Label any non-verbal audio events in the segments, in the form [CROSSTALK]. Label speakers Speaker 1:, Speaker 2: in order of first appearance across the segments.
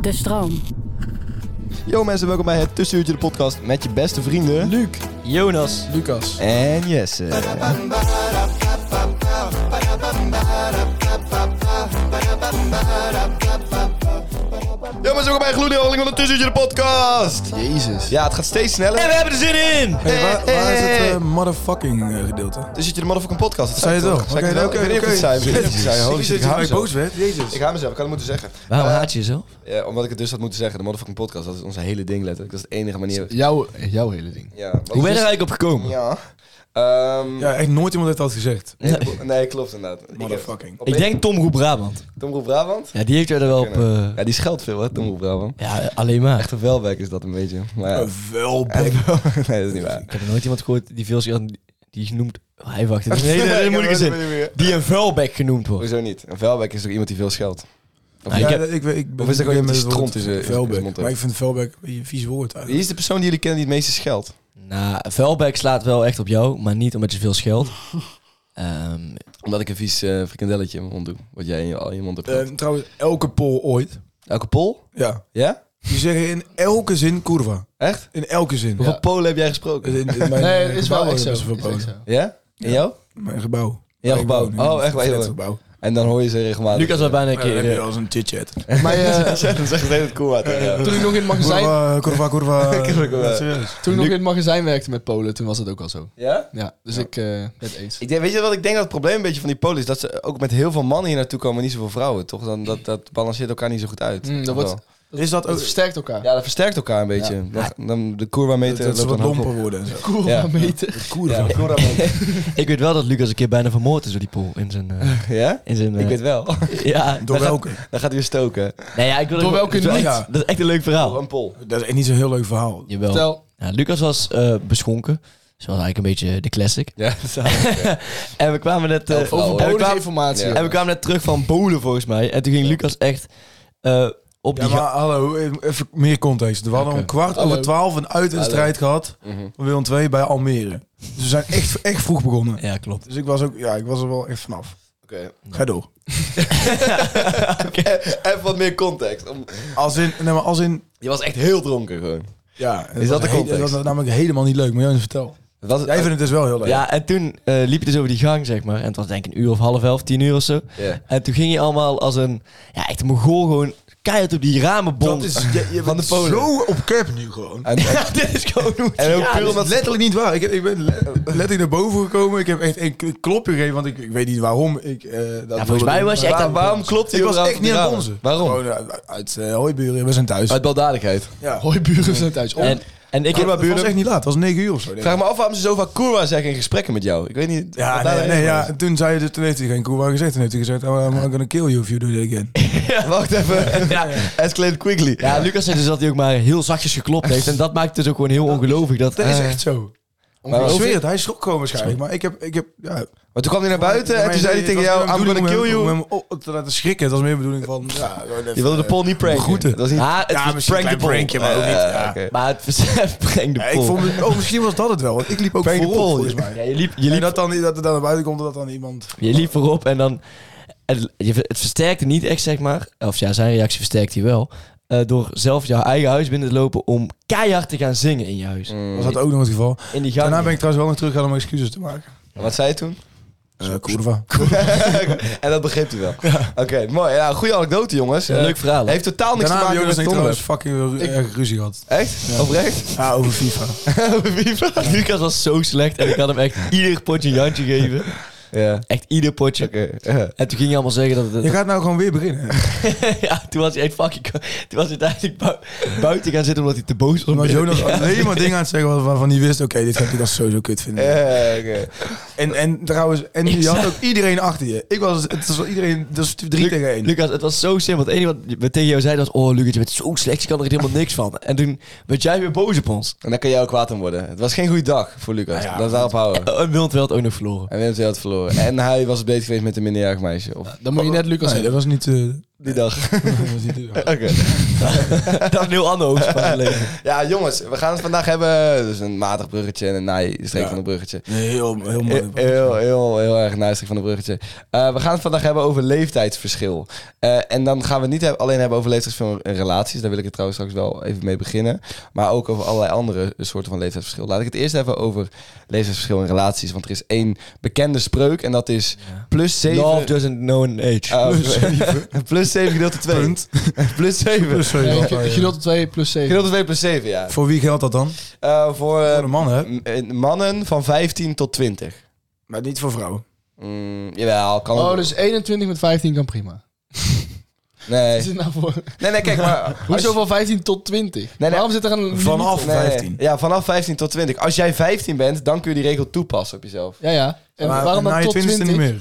Speaker 1: De stroom.
Speaker 2: Yo mensen, welkom bij het Tussenuurtje de podcast met je beste vrienden...
Speaker 3: Luc,
Speaker 2: Jonas. Eh,
Speaker 3: Lucas.
Speaker 2: En Jesse. Yo mensen, welkom bij een gloedende aflevering van het Tussenuurtje de podcast.
Speaker 3: Jezus.
Speaker 2: Ja, het gaat steeds sneller.
Speaker 4: En we hebben er zin in!
Speaker 3: Hey, waar,
Speaker 2: Hey,
Speaker 3: waar is het
Speaker 2: hey.
Speaker 3: eh, motherfucking eh, gedeelte?
Speaker 2: Tussenuurtje Dus de motherfucking podcast. Dat
Speaker 3: Zei je het wel?
Speaker 2: toch? Zei ik het wel? Ik weet niet of ik het zei. Ik weet niet of ik het zei. Holy shit, ik haat
Speaker 3: ik
Speaker 2: mezelf.
Speaker 3: boos werd.
Speaker 2: Ik
Speaker 3: Jezus.
Speaker 2: haat mezelf, ik had het moeten zeggen.
Speaker 4: Waarom
Speaker 2: Eh,
Speaker 4: haat je jezelf?
Speaker 2: Ja, omdat ik het dus had moeten zeggen. De motherfucking podcast, dat is onze hele ding letterlijk. Dat is de enige manier.
Speaker 5: Jouw, jouw hele ding.
Speaker 2: Ja, want-
Speaker 4: Hoe ben je er eigenlijk op gekomen?
Speaker 2: Ja. Ehm,
Speaker 3: Ja, echt nooit iemand heeft dat gezegd.
Speaker 2: nee, dat- [LAUGHS] nee, klopt inderdaad. Ik- eh,
Speaker 3: Motherfucking.
Speaker 2: op-
Speaker 4: Ik denk Tom Roep Brabant.
Speaker 2: Tom Roel Brabant?
Speaker 4: Ja, die heeft jou er wel op... eh,
Speaker 2: Ja, die scheldt veel, hè, Tom Roel Brabant.
Speaker 4: ja, alleen maar.
Speaker 2: Echt een welwerk is dat een beetje. Maar ja.
Speaker 3: Eh, Wel,
Speaker 2: Ja,
Speaker 3: bro.
Speaker 2: ik- [LAUGHS] nee, dat is niet waar.
Speaker 4: Ik heb nog nooit iemand gehoord die veel zegt... Die genoemd... Oh, hij wacht,
Speaker 2: [LAUGHS]
Speaker 4: dit is een hele, hele
Speaker 2: [LAUGHS]
Speaker 4: moeilijke
Speaker 2: Nee,
Speaker 4: zin.
Speaker 2: dat weet ik niet
Speaker 4: Die een vuilbek genoemd wordt.
Speaker 2: Hoezo niet? Een vuilbek is toch iemand die veel scheldt? Of
Speaker 4: Nee,
Speaker 2: ja,
Speaker 3: Ja,
Speaker 4: heb-
Speaker 3: ik, weet- ik ben
Speaker 2: Of is eh, dat
Speaker 3: ik
Speaker 2: gewoon
Speaker 3: ben
Speaker 2: die
Speaker 3: met
Speaker 2: stront in
Speaker 3: het woord
Speaker 2: zijn- in zijn
Speaker 3: Velbeck.
Speaker 2: mond ook?
Speaker 3: Maar ik vind Velbeck een beetje een vies woord
Speaker 2: Wie
Speaker 3: eigenlijk.
Speaker 2: is de persoon die jullie kennen die het meeste scheldt?
Speaker 4: Nou, vuilbek slaat wel echt op jou, maar niet omdat je veel scheldt. Ehm,
Speaker 2: Omdat ik een vies eh, frikandelletje in mijn mond doe. Wat jij in je, al in je mond hebt gehad.
Speaker 3: Eh, trouwens, elke poll ooit.
Speaker 2: Elke pol?
Speaker 3: Ja.
Speaker 2: Ja?
Speaker 3: Die zeggen in elke zin curva.
Speaker 2: Echt?
Speaker 3: In elke zin.
Speaker 2: Hoeveel polen heb jij gesproken?
Speaker 3: In- in mijn eh,
Speaker 5: Nee, Eh, is
Speaker 3: gebouw
Speaker 5: wel echt
Speaker 3: hebben
Speaker 5: zo.
Speaker 3: ze veel
Speaker 5: Is echt
Speaker 3: polen.
Speaker 5: zo.
Speaker 2: Eh, Ja? In jou?
Speaker 3: Mijn gebouw.
Speaker 2: In jouw gebouw? Oh, echt wel,
Speaker 3: wel.
Speaker 2: joh.
Speaker 3: gebouw.
Speaker 2: En dan hoor je ze regelmatig.
Speaker 4: Lucas was bijna een
Speaker 3: Ja, dan
Speaker 4: keer...
Speaker 3: heb je
Speaker 4: eh,
Speaker 3: wel eens een chit-chat.
Speaker 5: Maar
Speaker 3: [LAUGHS]
Speaker 5: eh,
Speaker 2: [LAUGHS] dat is echt heel cool uit. [LAUGHS] Ja.
Speaker 5: toen ik nog in het magazijn,
Speaker 3: Curva, curva, curva.
Speaker 2: [LAUGHS]
Speaker 3: Ja, serieus.
Speaker 5: toen ik nog in het magazijn werkte met Polen, toen was dat ook al zo.
Speaker 2: ja?
Speaker 5: Ja, dus ik eh ben het eens.
Speaker 2: Ik denk, weet je wat ik denk dat het probleem een beetje van die polen is? Dat ze ook met heel veel mannen hier naartoe komen en niet zoveel vrouwen, toch? Dan, dat, dat balanceert elkaar niet zo goed uit.
Speaker 5: Mm, dat
Speaker 2: Toch
Speaker 5: wordt-
Speaker 2: wel?
Speaker 3: Is dat
Speaker 5: Dat
Speaker 3: ook...
Speaker 5: versterkt elkaar.
Speaker 2: Ja, dat versterkt elkaar een beetje. Dan, dan de Koerwa-meter
Speaker 3: Dat ze wat
Speaker 2: dan
Speaker 3: lomper worden en zo.
Speaker 5: Cool,
Speaker 2: Ja.
Speaker 5: meter.
Speaker 3: Koer.
Speaker 2: Ja,
Speaker 4: Ik weet wel dat Lucas een keer bijna vermoord is door die pool in zijn... eh,
Speaker 2: [LAUGHS] ja?
Speaker 4: in zijn eh,
Speaker 2: Ik weet wel. [LAUGHS]
Speaker 4: ja,
Speaker 3: Door
Speaker 2: Daar gaat-
Speaker 3: welke?
Speaker 2: Dan gaat hij weer stoken.
Speaker 4: nee, ja, ik wil
Speaker 5: Door
Speaker 4: dat- dat
Speaker 5: welke
Speaker 4: is wel
Speaker 3: niet?
Speaker 4: echt-
Speaker 3: Ja.
Speaker 4: Dat is echt een leuk verhaal.
Speaker 2: Een pol.
Speaker 3: Dat is echt niet zo'n heel leuk verhaal.
Speaker 4: Jawel.
Speaker 5: Vertel.
Speaker 4: Ja, Lucas was eh, beschonken. Dus dat was eigenlijk een beetje de
Speaker 3: [LAUGHS]
Speaker 4: classic.
Speaker 2: Ja,
Speaker 4: En we kwamen net... eh,
Speaker 5: Over
Speaker 4: en, we
Speaker 5: Polen
Speaker 4: kwamen,
Speaker 5: informatie.
Speaker 2: Ja.
Speaker 4: en we kwamen net terug van bolen volgens mij. En toen ging Lucas echt eh, op
Speaker 3: Ja,
Speaker 4: die...
Speaker 3: maar
Speaker 4: ga-
Speaker 3: hallo, even meer context. We hadden om kwart
Speaker 5: Hallo.
Speaker 3: over twaalf een uitwedstrijd gehad van Willem II bij Almere. Dus we zijn echt, echt vroeg begonnen.
Speaker 4: Ja, klopt.
Speaker 3: Dus ik was, ook, ja, ik was er wel echt vanaf.
Speaker 2: Oké.
Speaker 3: Ga door.
Speaker 2: Even wat meer context. Om-
Speaker 3: Als in, nee, maar als in...
Speaker 2: Je was echt heel dronken gewoon.
Speaker 3: Ja, het
Speaker 2: Is dat
Speaker 3: was
Speaker 2: de
Speaker 3: he-
Speaker 2: context?
Speaker 3: Dat was namelijk helemaal niet leuk, maar Jonas, vertel.
Speaker 2: Dat was
Speaker 3: Jij vindt het dus wel heel leuk.
Speaker 4: Ja, en toen eh, liep je dus over die gang, zeg maar. En het was denk ik een uur of half elf, tien uur of zo.
Speaker 2: Ja.
Speaker 4: En toen ging je allemaal als een... Ja, echt een mogol gewoon keihard op die ramen
Speaker 3: dat
Speaker 4: bond.
Speaker 3: is, je, je
Speaker 2: [LAUGHS] Van
Speaker 3: bent
Speaker 2: de Polen.
Speaker 3: zo op cap nu gewoon.
Speaker 2: En,
Speaker 4: ja, dit is gewoon... hoe het-
Speaker 2: en ook
Speaker 4: ja,
Speaker 2: puur
Speaker 4: dit-
Speaker 3: Dat
Speaker 2: omdat...
Speaker 3: is letterlijk niet waar. Ik, ik ben le- letterlijk naar boven gekomen. Ik heb echt een k- klopje gegeven, want ik, ik weet niet waarom. Ik, eh, dat
Speaker 4: Ja, volgens
Speaker 3: wilde
Speaker 4: mij
Speaker 3: doen.
Speaker 4: was je echt aan...
Speaker 2: Waarom klopt hij
Speaker 3: Ik was
Speaker 2: überhaupt
Speaker 3: echt niet
Speaker 2: op die
Speaker 3: aan het
Speaker 2: ramen?
Speaker 3: bonzen.
Speaker 2: Waarom?
Speaker 3: Gewoon, eh, uit eh, Hooiburen, we zijn thuis.
Speaker 2: Uit baldadigheid.
Speaker 3: ja.
Speaker 5: Hoi buren zijn thuis. Oh,
Speaker 4: En, en ik
Speaker 3: Ik heb
Speaker 4: heb...
Speaker 3: het was echt niet laat, het was 9 uur of zo. denk ik.
Speaker 2: Vraag me af waarom ze zo vaak Koerwa zeggen in gesprekken met jou. Ik weet niet.
Speaker 3: Ja,
Speaker 2: wat daar
Speaker 3: nee,
Speaker 2: de
Speaker 3: nee,
Speaker 2: reden
Speaker 3: ja.
Speaker 2: van
Speaker 3: En toen zei je dus, toen heeft hij geen koe gezegd. Toen heeft hij gezegd, oh, I'm gonna kill you if you do that again.
Speaker 2: is. Wacht even.
Speaker 4: Ja.
Speaker 2: [LAUGHS] Escalate quickly.
Speaker 4: [LAUGHS] Ja, Lucas zei dus dat hij ook maar heel zachtjes geklopt heeft. En dat maakt het dus ook gewoon heel ongelooflijk. Dat,
Speaker 3: Dat is
Speaker 4: eh,
Speaker 3: echt zo.
Speaker 2: Maar
Speaker 3: ik
Speaker 2: waarom-
Speaker 3: zweer het, hij schrok gewoon waarschijnlijk. Maar ik heb, ik heb, ja.
Speaker 2: Maar toen kwam hij naar buiten en toen zei hij tegen jou, I'm gonna kill
Speaker 3: Om
Speaker 2: you.
Speaker 3: hem op te laten schrikken. Dat was meer de bedoeling van, ja.
Speaker 2: Je wilde de pol niet pranken.
Speaker 3: Goed, hè.
Speaker 2: Dat was niet...
Speaker 4: ja, het
Speaker 3: Ja,
Speaker 4: was
Speaker 3: misschien een klein
Speaker 4: prank de
Speaker 3: prankje,
Speaker 4: pol.
Speaker 3: maar ook niet.
Speaker 2: Eh,
Speaker 3: ja.
Speaker 2: oké.
Speaker 4: Maar het besef prank de
Speaker 3: Ja, ik
Speaker 4: pol.
Speaker 3: vond het, oh, misschien was dat het wel. Want ik liep ook
Speaker 2: Prank de
Speaker 3: voorop,
Speaker 2: pol,
Speaker 3: volgens
Speaker 2: ja.
Speaker 3: mij.
Speaker 4: Ja, je, liep, je,
Speaker 3: En
Speaker 4: liep,
Speaker 3: dat dan, dat er dan naar buiten komt, dat dan iemand...
Speaker 4: je liep voorop en dan... Het, je- het versterkte niet echt, zeg maar. Of ja, zijn reactie versterkt hij wel. eh, door zelf jouw eigen huis binnen te lopen om keihard te gaan zingen in je huis.
Speaker 3: Was dat ook nog het geval.
Speaker 4: In die gang.
Speaker 3: Mm. Daarna ben ik trouwens wel nog terug gaan om excuses te maken.
Speaker 2: Wat zei je
Speaker 3: [LAUGHS]
Speaker 2: toen?
Speaker 3: Eh, Kurva.
Speaker 2: en dat begreep hij wel. Oké, mooi. Ja, goede anekdote, jongens.
Speaker 4: Een
Speaker 2: Eh,
Speaker 4: leuk verhaal. hè?
Speaker 2: Heeft totaal niks
Speaker 3: Daarna
Speaker 2: te
Speaker 3: hebben
Speaker 2: maken
Speaker 3: Jonas
Speaker 2: met
Speaker 3: en
Speaker 2: het
Speaker 3: ik trouwens
Speaker 2: onderwerp.
Speaker 3: fucking
Speaker 5: Ik-
Speaker 3: erg ruzie gehad.
Speaker 2: Echt? Oprecht?
Speaker 3: [LAUGHS] Ja, over FIFA.
Speaker 2: Over FIFA?
Speaker 4: [LAUGHS] Lucas was zo slecht en ik had hem
Speaker 3: [LAUGHS]
Speaker 4: echt ieder potje een jantje geven.
Speaker 2: Ja.
Speaker 4: Echt ieder potje.
Speaker 2: Oké. [LAUGHS] ja.
Speaker 4: En toen ging je allemaal zeggen dat het...
Speaker 3: Je gaat nou gewoon weer
Speaker 4: [LAUGHS]
Speaker 3: beginnen.
Speaker 4: ja, toen was hij echt fucking... Toen was hij eigenlijk bui- buiten gaan zitten omdat hij te boos was.
Speaker 3: Omdat Jonas alleen maar dingen aan het zeggen was waarvan hij wist... oké, dit gaat ik als sowieso kut vinden.
Speaker 2: Ja, oké.
Speaker 3: En, en trouwens, en je had ook iedereen achter je. Ik was, het was wel iedereen, dat is drie
Speaker 4: Lu-
Speaker 3: tegen één.
Speaker 4: Lucas, het was zo simpel. Het enige wat we tegen jou zeiden was... Oh, Lucas, je bent zo slecht. Je kan er echt helemaal niks van. En toen werd jij weer boos op ons.
Speaker 2: En daar kan jij ook kwaad om worden. Het was geen goede dag voor Lucas.
Speaker 3: Nou Ja, ja.
Speaker 2: Dat is daarop houden.
Speaker 4: En Wild werd ook nog [LAUGHS] verloren.
Speaker 2: En Willem II had verloren. En hij was bezig geweest met een minderjarig meisje. Of...
Speaker 5: dan moet je net Lucas
Speaker 3: Nee, dat
Speaker 5: hebben.
Speaker 3: was niet... eh, [LAUGHS]
Speaker 4: die dag.
Speaker 2: [LAUGHS] Oké.
Speaker 4: dat is een heel ander hoofdstuk van het leven.
Speaker 2: Ja, jongens, we gaan het vandaag hebben. Dus een matig bruggetje en een naai-streek
Speaker 3: Ja.
Speaker 2: van een bruggetje.
Speaker 3: Heel, heel
Speaker 2: Heel,
Speaker 3: mooi.
Speaker 2: heel, heel, erg naai-streek van een bruggetje. Eh, we gaan het vandaag hebben over leeftijdsverschil. Eh, en dan gaan we het niet he- alleen hebben over leeftijdsverschil in relaties. Daar wil ik het trouwens straks wel even mee beginnen. Maar ook over allerlei andere soorten van leeftijdsverschil. Laat ik het eerst hebben over leeftijdsverschil in relaties. Want er is één bekende spreuk en dat is plus 7...
Speaker 4: Love Ah. doesn't know an age. [LAUGHS]
Speaker 2: [LAUGHS] plus 7 gedeeld door 2.
Speaker 3: Punt.
Speaker 2: Plus 7.
Speaker 3: Plus
Speaker 5: Nee,
Speaker 3: zeven.
Speaker 5: ge- gedeeld door 2 plus 7.
Speaker 2: Gedeeld door 2 plus 7, ja.
Speaker 3: Voor wie geldt dat dan? Voor
Speaker 2: Eh, voor eh,
Speaker 3: de man, hè?
Speaker 2: m- eh, mannen van 15 tot 20.
Speaker 3: Maar niet voor vrouwen.
Speaker 2: Mm, jawel, kan ook.
Speaker 5: Oh, dus 21 met 15 kan prima. Is
Speaker 2: nee.
Speaker 5: het nou voor...
Speaker 2: nee, nee, kijk maar. als-
Speaker 5: [LAUGHS] Hoezo van 15 tot 20?
Speaker 2: nee.
Speaker 5: Waarom zit er een... limiet
Speaker 3: Vanaf
Speaker 5: op?
Speaker 2: Nee, nee.
Speaker 3: 15.
Speaker 2: Ja, vanaf 15 tot 20. Als jij 15 bent, dan kun je die regel toepassen op jezelf.
Speaker 5: Ja, ja. En
Speaker 3: Maar
Speaker 5: waarom
Speaker 3: na
Speaker 5: dan
Speaker 3: je
Speaker 5: tot
Speaker 3: 20
Speaker 5: 20?
Speaker 3: niet meer.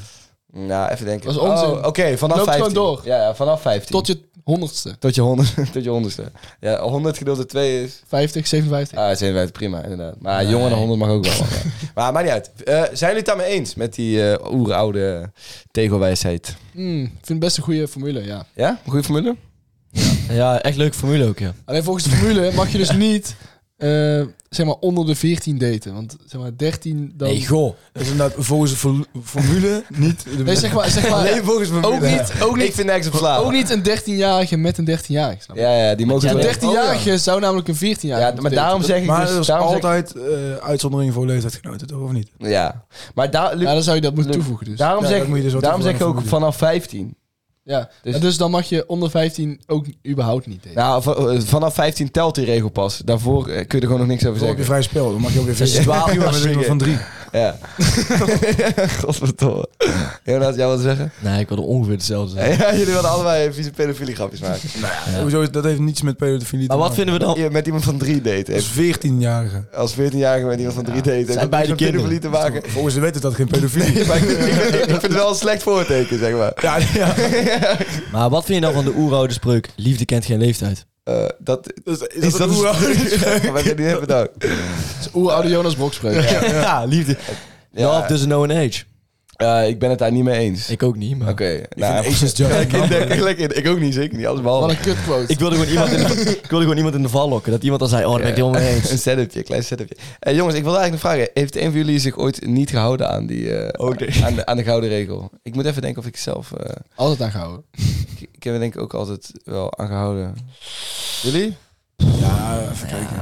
Speaker 2: Nou, even denken.
Speaker 5: Dat is onzin.
Speaker 2: Oh, Oké, vanaf
Speaker 5: Loopt
Speaker 2: 15.
Speaker 5: gewoon door.
Speaker 2: Ja, ja, vanaf 15.
Speaker 5: Tot je 100ste.
Speaker 2: tot je 100, [LAUGHS] tot je 100ste. Ja, 100 gedeeld door 2 is...
Speaker 5: 50, 57.
Speaker 2: Ah, 57, prima, inderdaad. Maar jonger dan 100 mag ook
Speaker 5: [LAUGHS]
Speaker 2: wel. maar- maar maakt niet uit. Eh, zijn jullie het daarmee eens met die eh, oeroude tegelwijsheid?
Speaker 5: Hmm, ik vind het best een goede formule, ja.
Speaker 2: Ja? Goede formule?
Speaker 4: Ja, echt leuke formule ook, ja.
Speaker 5: Alleen volgens de formule mag
Speaker 2: [LAUGHS]
Speaker 5: je dus niet eh, zeg maar onder de 14 daten. Want zeg maar 13 dan...
Speaker 4: Nee, goh.
Speaker 3: Dat is inderdaad volgens de vo- formule niet... de- [LAUGHS]
Speaker 5: Nee, zeg
Speaker 2: [LAUGHS]
Speaker 5: maar, zeg maar
Speaker 2: volgens mij
Speaker 5: ook, niet, ook,
Speaker 2: Ik
Speaker 5: niet,
Speaker 2: vind nergens op slaan.
Speaker 5: ook niet een 13-jarige met een 13-jarige. snap je?
Speaker 2: Ja, ja, die mogen
Speaker 4: Ja,
Speaker 2: wel-
Speaker 5: Een
Speaker 4: nee.
Speaker 5: 13-jarige zou namelijk een 14-jarige
Speaker 2: Ja,
Speaker 5: moeten
Speaker 2: maar
Speaker 5: daten.
Speaker 2: daarom zeg ik
Speaker 3: Maar
Speaker 2: dus...
Speaker 3: dat is
Speaker 2: daarom zeg ik-
Speaker 3: altijd eh, uitzondering voor leeftijdgenoten, toch? Of niet?
Speaker 2: Ja. Maar daar, Luc,
Speaker 5: Ja, dan zou je dat moeten
Speaker 2: Luc-
Speaker 5: toevoegen dus.
Speaker 2: daarom
Speaker 3: Ja,
Speaker 2: zeg,
Speaker 3: dat moet je dus wel
Speaker 2: daarom zeg ik
Speaker 3: toevoegen
Speaker 2: ook
Speaker 3: aan de
Speaker 2: vanaf 15.
Speaker 5: ja.
Speaker 2: Dus-
Speaker 5: Dus, en dus dan mag je onder 15 ook überhaupt niet daten.
Speaker 2: Nou, v- eh, vanaf 15 telt die regel pas. Daarvoor eh, kun je er gewoon nog niks over
Speaker 3: Dan heb je
Speaker 2: zeggen.
Speaker 3: vrij spel. Dan mag [LAUGHS] je ook weer
Speaker 4: Dat is
Speaker 3: vissen.
Speaker 4: twaalf
Speaker 3: Prima, we doen er van drie.
Speaker 2: Ja. [LAUGHS] Godverdomme. Jonas, jij wat te zeggen?
Speaker 4: Nee, ik wilde ongeveer hetzelfde zeggen.
Speaker 2: Ja, jullie wilden allebei vieze pedofilie grapjes maken. [LAUGHS]
Speaker 3: Hoezo is- dat heeft niets met pedofilie
Speaker 4: Maar
Speaker 3: te
Speaker 4: wat
Speaker 3: maken.
Speaker 4: vinden we dan?
Speaker 2: Je met iemand van drie daten.
Speaker 3: Als
Speaker 2: heeft-
Speaker 3: 14-jarige.
Speaker 2: Als 14-jarige met iemand van drie daten. heeft
Speaker 4: zijn
Speaker 2: dat
Speaker 4: beide
Speaker 2: niks met pedofilie
Speaker 4: kinderen.
Speaker 2: te
Speaker 3: [LAUGHS]
Speaker 2: maken.
Speaker 3: Volgens de wet is dat geen pedofilie.
Speaker 5: [LAUGHS]
Speaker 2: Ja, maar [LAUGHS] ik, vind- ik vind- ik vind het wel een slecht voorteken, zeg maar.
Speaker 3: Ja, ja.
Speaker 4: Maar wat vind je dan van de oeroude spreuk? Liefde kent geen leeftijd.
Speaker 2: Eh, dat
Speaker 3: Dus, is,
Speaker 2: is dat
Speaker 3: een
Speaker 2: [LAUGHS]
Speaker 3: oeroude-
Speaker 2: Maar die hebben het
Speaker 3: [LAUGHS]
Speaker 2: ook.
Speaker 5: Dat is oeroude Dus, Jonas Blok spreken.
Speaker 4: Ja, liefde.
Speaker 2: Ja.
Speaker 4: Love doesn't know an age.
Speaker 2: Eh, ik ben het daar niet mee eens.
Speaker 4: Ik ook niet, maar...
Speaker 2: Oké.
Speaker 3: Nou,
Speaker 2: Nou, gelijk in, denk- gelijk in. Ik ook niet, zeker niet. Alles
Speaker 5: Wat
Speaker 2: behalve.
Speaker 5: een kutquote.
Speaker 4: Ik wilde, gewoon iemand in [LAUGHS] de, ik wilde gewoon iemand in de val lokken. Dat iemand dan zei, oh, daar ben ik het helemaal mee
Speaker 2: [LAUGHS]
Speaker 4: eens.
Speaker 2: Een setupje, een klein setupje. Eh, jongens, ik wilde eigenlijk nog vragen. Heeft een van jullie zich ooit niet gehouden aan, die, eh,
Speaker 4: Oh, nee.
Speaker 2: aan, de, aan de gouden regel? Ik moet even denken of ik zelf... eh,
Speaker 5: Altijd aangehouden.
Speaker 2: ik, ik heb er denk ik ook altijd wel aan gehouden. Jullie?
Speaker 3: Ja, even kijken.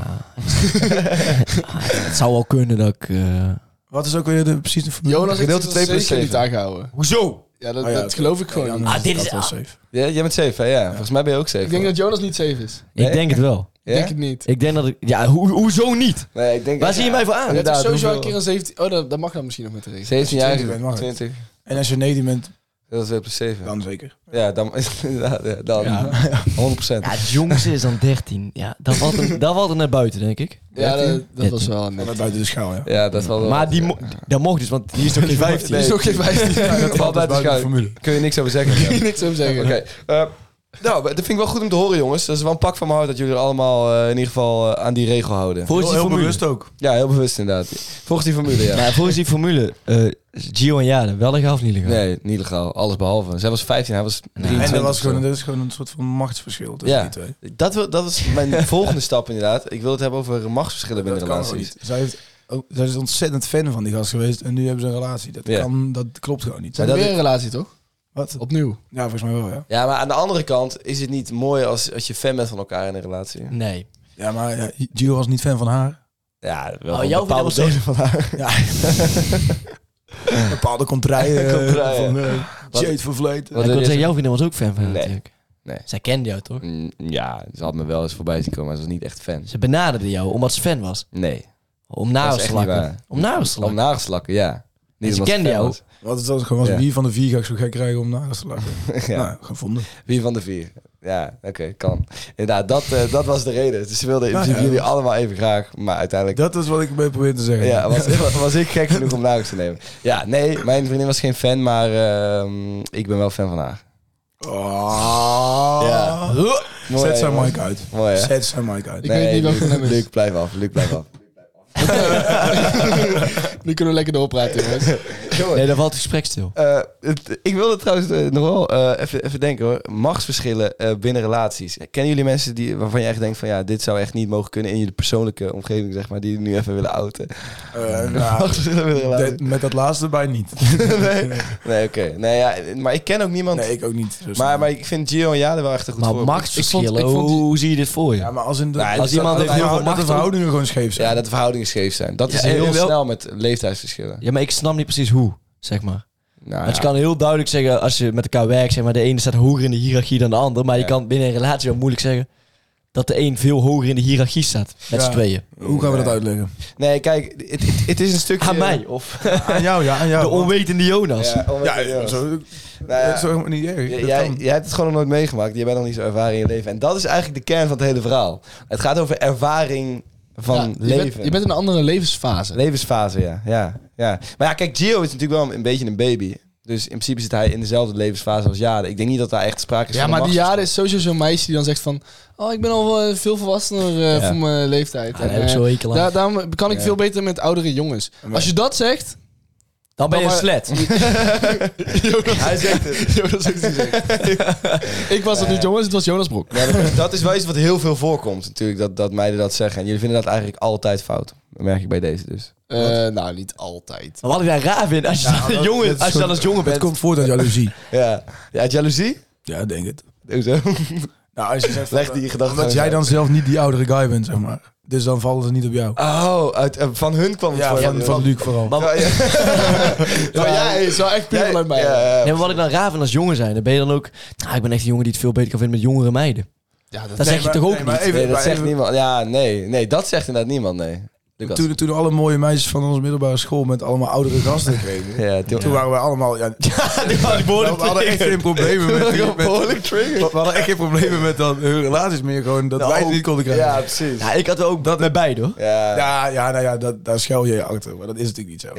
Speaker 4: Het zou wel kunnen dat ik... eh,
Speaker 3: Wat is ook weer de, precies de formule?
Speaker 5: Jonas heeft
Speaker 2: Gedeelte
Speaker 5: zich
Speaker 2: twee plus
Speaker 5: zeker
Speaker 2: zeven.
Speaker 5: niet aangehouden.
Speaker 3: Hoezo?
Speaker 5: Ja, dat,
Speaker 3: Oh ja,
Speaker 5: dat
Speaker 3: oké.
Speaker 5: geloof ik gewoon
Speaker 3: Ja,
Speaker 5: niet.
Speaker 3: dan
Speaker 4: Ah, dit
Speaker 3: dat
Speaker 4: is-
Speaker 3: wel safe.
Speaker 2: Ja, jij bent safe, hè? Ja. Volgens mij ben je ook safe.
Speaker 5: Ik denk
Speaker 2: hoor.
Speaker 5: dat Jonas niet safe is.
Speaker 2: Nee?
Speaker 4: Ik denk het wel.
Speaker 2: Ja?
Speaker 5: Denk het niet.
Speaker 4: Ik denk dat ik... Ja, hoe- hoezo niet?
Speaker 2: Nee, ik denk
Speaker 4: Waar zie je mij voor aan?
Speaker 5: Ja, het
Speaker 2: inderdaad,
Speaker 5: is sowieso een
Speaker 2: hoeveel-
Speaker 5: keer een 17... Oh, dat, dat mag dan misschien nog met de regel.
Speaker 2: 17 jaar,
Speaker 3: Als je 20 bent, mag
Speaker 2: 20.
Speaker 3: het. En als je 19 bent,
Speaker 2: Dat is 2 plus 7.
Speaker 3: dan zeker.
Speaker 2: Ja, dan... [LAUGHS] inderdaad, ja, dan.
Speaker 4: Ja.
Speaker 2: [LAUGHS] 100
Speaker 4: Ja, het jongste is dan 13. Ja, dat valt hem, dat valt hem naar buiten, denk ik.
Speaker 5: Ja, dat, dat was
Speaker 4: 13.
Speaker 5: wel
Speaker 3: Dan
Speaker 5: een... net.
Speaker 3: ben je buiten de schaal, ja.
Speaker 2: Ja, dat valt wel.
Speaker 4: Maar die, mo- dat mocht dus, want die
Speaker 2: [LAUGHS]
Speaker 4: is toch geen 15?
Speaker 5: Die is ook geen 15.
Speaker 2: Ja, dat valt uit de
Speaker 3: dus buiten de
Speaker 2: schuil.
Speaker 3: formule.
Speaker 2: Kun je niks over zeggen. ja.
Speaker 5: Ik niks over zeggen.
Speaker 2: Oké. eh, nou, dat vind ik wel goed om te horen, jongens. Dat is wel een pak van mijn hart dat jullie er allemaal eh, in ieder geval eh, aan die regel houden.
Speaker 4: Volgens die
Speaker 3: heel
Speaker 4: formule.
Speaker 3: bewust ook.
Speaker 2: Ja, heel bewust inderdaad. Volgens die formule, ja.
Speaker 4: Nou, volgens die formule, eh, Gio en Jade, wel legaal of niet legaal?
Speaker 2: Nee, niet legaal. Alles behalve. Zij was 15, hij was
Speaker 3: En
Speaker 2: 23.
Speaker 3: dat, was
Speaker 2: of
Speaker 3: gewoon,
Speaker 2: zo.
Speaker 3: dat is gewoon een soort van machtsverschil tussen
Speaker 2: Ja.
Speaker 3: die twee.
Speaker 2: dat, wil, dat was [LAUGHS] mijn volgende stap inderdaad. Ik wil het hebben over machtsverschillen binnen
Speaker 3: dat kan
Speaker 2: relaties.
Speaker 3: niet. Zij, heeft, ook- zij is ontzettend fan van die gast geweest en nu hebben ze een relatie. Dat,
Speaker 2: Ja.
Speaker 3: kan, dat klopt gewoon niet.
Speaker 5: Ze hebben
Speaker 2: dat-
Speaker 5: weer een relatie, toch?
Speaker 3: Wat?
Speaker 2: [LAUGHS]
Speaker 5: Opnieuw.
Speaker 3: Ja, volgens mij wel, ja.
Speaker 2: Ja, maar aan de andere kant is het niet mooi als, als je fan bent van elkaar in een relatie.
Speaker 4: Nee.
Speaker 3: Ja, maar ja, Gio was niet fan van haar.
Speaker 2: Ja, wel
Speaker 4: Oh,
Speaker 2: een
Speaker 4: jouw
Speaker 2: bepaalde
Speaker 4: vriendin was
Speaker 2: delen van haar.
Speaker 3: Bepaalde contraien. eh,
Speaker 2: [LAUGHS] Contraien.
Speaker 3: Van, eh,
Speaker 2: Wat-
Speaker 3: Jade Vervleet.
Speaker 2: Wat er
Speaker 4: ik wil
Speaker 2: is-
Speaker 4: zeggen, jouw vriendin was ook fan van haar
Speaker 2: Nee.
Speaker 4: natuurlijk.
Speaker 2: Nee.
Speaker 4: Zij kende jou toch?
Speaker 2: Mm, Ja, ze had me wel eens voorbij zien komen, maar ze was niet echt fan.
Speaker 4: Ze benaderde jou omdat ze fan was.
Speaker 2: Nee.
Speaker 4: Om nagels
Speaker 2: echt
Speaker 4: te
Speaker 2: niet
Speaker 4: lakken.
Speaker 2: waar.
Speaker 4: Om nagels te
Speaker 2: Om
Speaker 4: lakken.
Speaker 2: nagels te lakken, ja.
Speaker 4: ze
Speaker 2: omdat
Speaker 4: kende
Speaker 2: fan
Speaker 4: jou.
Speaker 2: was.
Speaker 3: Wat het was gewoon was,
Speaker 2: Ja.
Speaker 3: wie van de vier ga ik zo gek krijgen om naast te lachen?
Speaker 2: [LAUGHS] Ja.
Speaker 3: Nou, gevonden.
Speaker 2: Wie van de vier? Ja, oké, kan. Inderdaad, dat, eh, dat was de reden. Dus ze wilden in
Speaker 3: Nou
Speaker 2: principe
Speaker 3: ja.
Speaker 2: jullie allemaal even graag, maar uiteindelijk...
Speaker 3: Dat is wat ik mee probeer te zeggen.
Speaker 2: Ja, was, [LAUGHS] was ik gek genoeg om nagels te nemen. Ja, nee, mijn vriendin was geen fan, maar ehm, ik ben wel fan van haar.
Speaker 3: Oh.
Speaker 2: Ja. Mooi, hè,
Speaker 3: Zet zijn
Speaker 2: jongens?
Speaker 3: mic uit.
Speaker 2: Mooi, hè?
Speaker 3: Zet zijn mic uit.
Speaker 5: Ik weet niet welke
Speaker 2: Luc,
Speaker 5: nummer het is.
Speaker 2: Luc, blijf af. Luc, blijf af.
Speaker 5: Nu kunnen we lekker doorpraten, jongens.
Speaker 2: Jongen,
Speaker 4: Nee, dan valt het gesprek stil.
Speaker 2: eh, het- ik wilde trouwens eh, nog wel eh, even, even denken hoor. Machtsverschillen eh, binnen relaties. Kennen jullie mensen die, waarvan je echt denkt van ja, dit zou echt niet mogen kunnen in jullie persoonlijke omgeving, zeg maar, die nu even willen outen?
Speaker 3: Eh, nou,
Speaker 2: Machtsverschillen binnen
Speaker 3: de-
Speaker 2: relaties.
Speaker 3: met dat laatste bij niet.
Speaker 2: nee, nee oké. Nee, ja, maar ik ken ook niemand.
Speaker 3: [LAUGHS] Nee, ik ook niet. Dus-
Speaker 2: maar, maar ik vind Gio en Jade wel echt een goed
Speaker 4: Maar
Speaker 2: voorbeeld.
Speaker 4: machtsverschillen,
Speaker 5: ik vond- ik vond die-
Speaker 4: hoe zie je dit voor je?
Speaker 3: ja, maar als, in de,
Speaker 2: Nou,
Speaker 4: als iemand
Speaker 3: dat,
Speaker 4: heeft heel
Speaker 3: dat-
Speaker 4: veel
Speaker 3: dat
Speaker 4: macht
Speaker 3: de
Speaker 4: om-
Speaker 3: verhoudingen gewoon scheef zijn.
Speaker 2: Ja, dat de verhoudingen scheef zijn. Dat
Speaker 4: Ja,
Speaker 2: is
Speaker 4: en-
Speaker 2: heel
Speaker 4: en wel-
Speaker 2: snel met leeftijdsverschillen.
Speaker 4: Ja, maar ik snap niet precies hoe, zeg maar.
Speaker 2: Nou,
Speaker 3: Ah,
Speaker 4: Want je
Speaker 2: ja.
Speaker 4: kan heel duidelijk zeggen, als je met elkaar werkt, zeg maar, de ene staat hoger in de hiërarchie dan de ander. Maar
Speaker 2: Ja.
Speaker 4: je kan binnen een relatie wel moeilijk zeggen dat de een veel hoger in de hiërarchie staat. Met
Speaker 3: Ja.
Speaker 4: z'n tweeën.
Speaker 3: Hoe gaan we dat
Speaker 2: Nee.
Speaker 3: uitleggen?
Speaker 2: Nee, kijk, het, het, het is een stukje...
Speaker 4: Aan mij, of
Speaker 3: Aan jou, ja. Aan jou.
Speaker 4: de onwetende
Speaker 2: [LAUGHS]
Speaker 4: Jonas.
Speaker 2: Ja, om-
Speaker 3: Ja,
Speaker 2: ja.
Speaker 3: zo,
Speaker 2: Nou ja,
Speaker 3: dat is toch helemaal niet erg.
Speaker 2: J-
Speaker 3: Dat
Speaker 2: Jij,
Speaker 3: kan.
Speaker 2: jij hebt het gewoon nog nooit meegemaakt. Je bent nog niet zo ervaren in je leven. En dat is eigenlijk de kern van het hele verhaal. Het gaat over ervaring van
Speaker 5: Ja, je bent-
Speaker 2: leven.
Speaker 5: Je bent, in een andere levensfase.
Speaker 2: Levensfase, ja. ja, ja. Maar ja, kijk, Gio is natuurlijk wel een, een beetje een baby. Dus in principe zit hij in dezelfde levensfase als Jade. Ik denk niet dat daar echt sprake is
Speaker 5: Ja,
Speaker 2: van
Speaker 5: maar die
Speaker 2: een
Speaker 5: jaren is sowieso zo'n meisje die dan zegt van... Oh, ik ben al wel veel volwassener eh,
Speaker 2: Ja.
Speaker 5: voor mijn leeftijd.
Speaker 4: Ja, daar heb
Speaker 5: En,
Speaker 4: ik
Speaker 5: eh,
Speaker 4: zo hekel aan.
Speaker 3: Nou,
Speaker 5: daar- daarom kan ik
Speaker 2: Ja.
Speaker 5: veel beter met oudere jongens. Als je dat zegt...
Speaker 4: Dan ben je een
Speaker 5: Dan maar-
Speaker 4: slet.
Speaker 2: machtsverschil. Hij zegt
Speaker 5: [LAUGHS]
Speaker 2: het.
Speaker 5: Jonas heeft het gezegd. ik was het niet, jongens. Het was Jonas Brok.
Speaker 2: Ja, maar dat is wel iets wat heel veel voorkomt natuurlijk, dat, dat meiden dat zeggen. En jullie vinden dat eigenlijk altijd fout. Dat merk ik bij deze dus.
Speaker 5: Eh, nou, niet altijd.
Speaker 4: Maar wat ik daar raar vind, als je, dan, een
Speaker 3: dat-
Speaker 4: jongen,
Speaker 3: dat is
Speaker 4: als, je dan als jongen
Speaker 3: Het
Speaker 4: bent...
Speaker 3: komt voort uit jaloezie.
Speaker 2: Ja, ja uit jaloezie?
Speaker 3: Ja, ik denk het.
Speaker 2: Hoezo?
Speaker 3: Nou, als je zegt... eh,
Speaker 2: Leg die gedachte
Speaker 3: Omdat
Speaker 2: even
Speaker 3: jij
Speaker 2: uit.
Speaker 3: dan zelf niet die oudere guy bent, zeg maar. Dus dan vallen ze niet op jou.
Speaker 2: Oh, uit, eh, van hun kwam het
Speaker 3: Ja,
Speaker 2: voor.
Speaker 3: van, van Luc vooral.
Speaker 4: Maar,
Speaker 2: Ja, ja.
Speaker 5: Maar jij is wel echt puur
Speaker 2: Jij-
Speaker 5: vanuit mij.
Speaker 2: ja,
Speaker 5: Ja,
Speaker 2: ja,
Speaker 4: nee, maar wat ik dan raar vind als jongen zijn, dan ben je dan ook... Nou, ik ben echt een jongen die het veel beter kan vinden met jongere meiden.
Speaker 5: dat,
Speaker 4: Dat zeg je
Speaker 3: maar-
Speaker 4: toch ook
Speaker 3: nee, maar
Speaker 4: niet?
Speaker 3: even-
Speaker 2: Nee, dat
Speaker 3: maar
Speaker 2: zegt
Speaker 3: even-
Speaker 2: niemand. Ja, nee, nee, dat zegt inderdaad niemand, nee. Lucas.
Speaker 3: Toen, toen alle mooie meisjes van onze middelbare school met allemaal oudere gasten kregen.
Speaker 2: ja, toen,
Speaker 3: Toen waren we
Speaker 2: [LAUGHS]
Speaker 3: allemaal... Ja, [LAUGHS] Nou, we hadden echt geen problemen met... die- met-
Speaker 2: behoorlijk trigger.
Speaker 3: we hadden echt geen problemen met dat, hun relaties meer. Gewoon dat
Speaker 2: Nou,
Speaker 3: wij het niet konden krijgen.
Speaker 2: Ja, precies.
Speaker 4: Ja, ik had ook dat met beide, hoor.
Speaker 2: Ja, ja.
Speaker 3: Ja, ja, nou ja, dat, daar schuil je je achter. Maar dat is natuurlijk niet zo.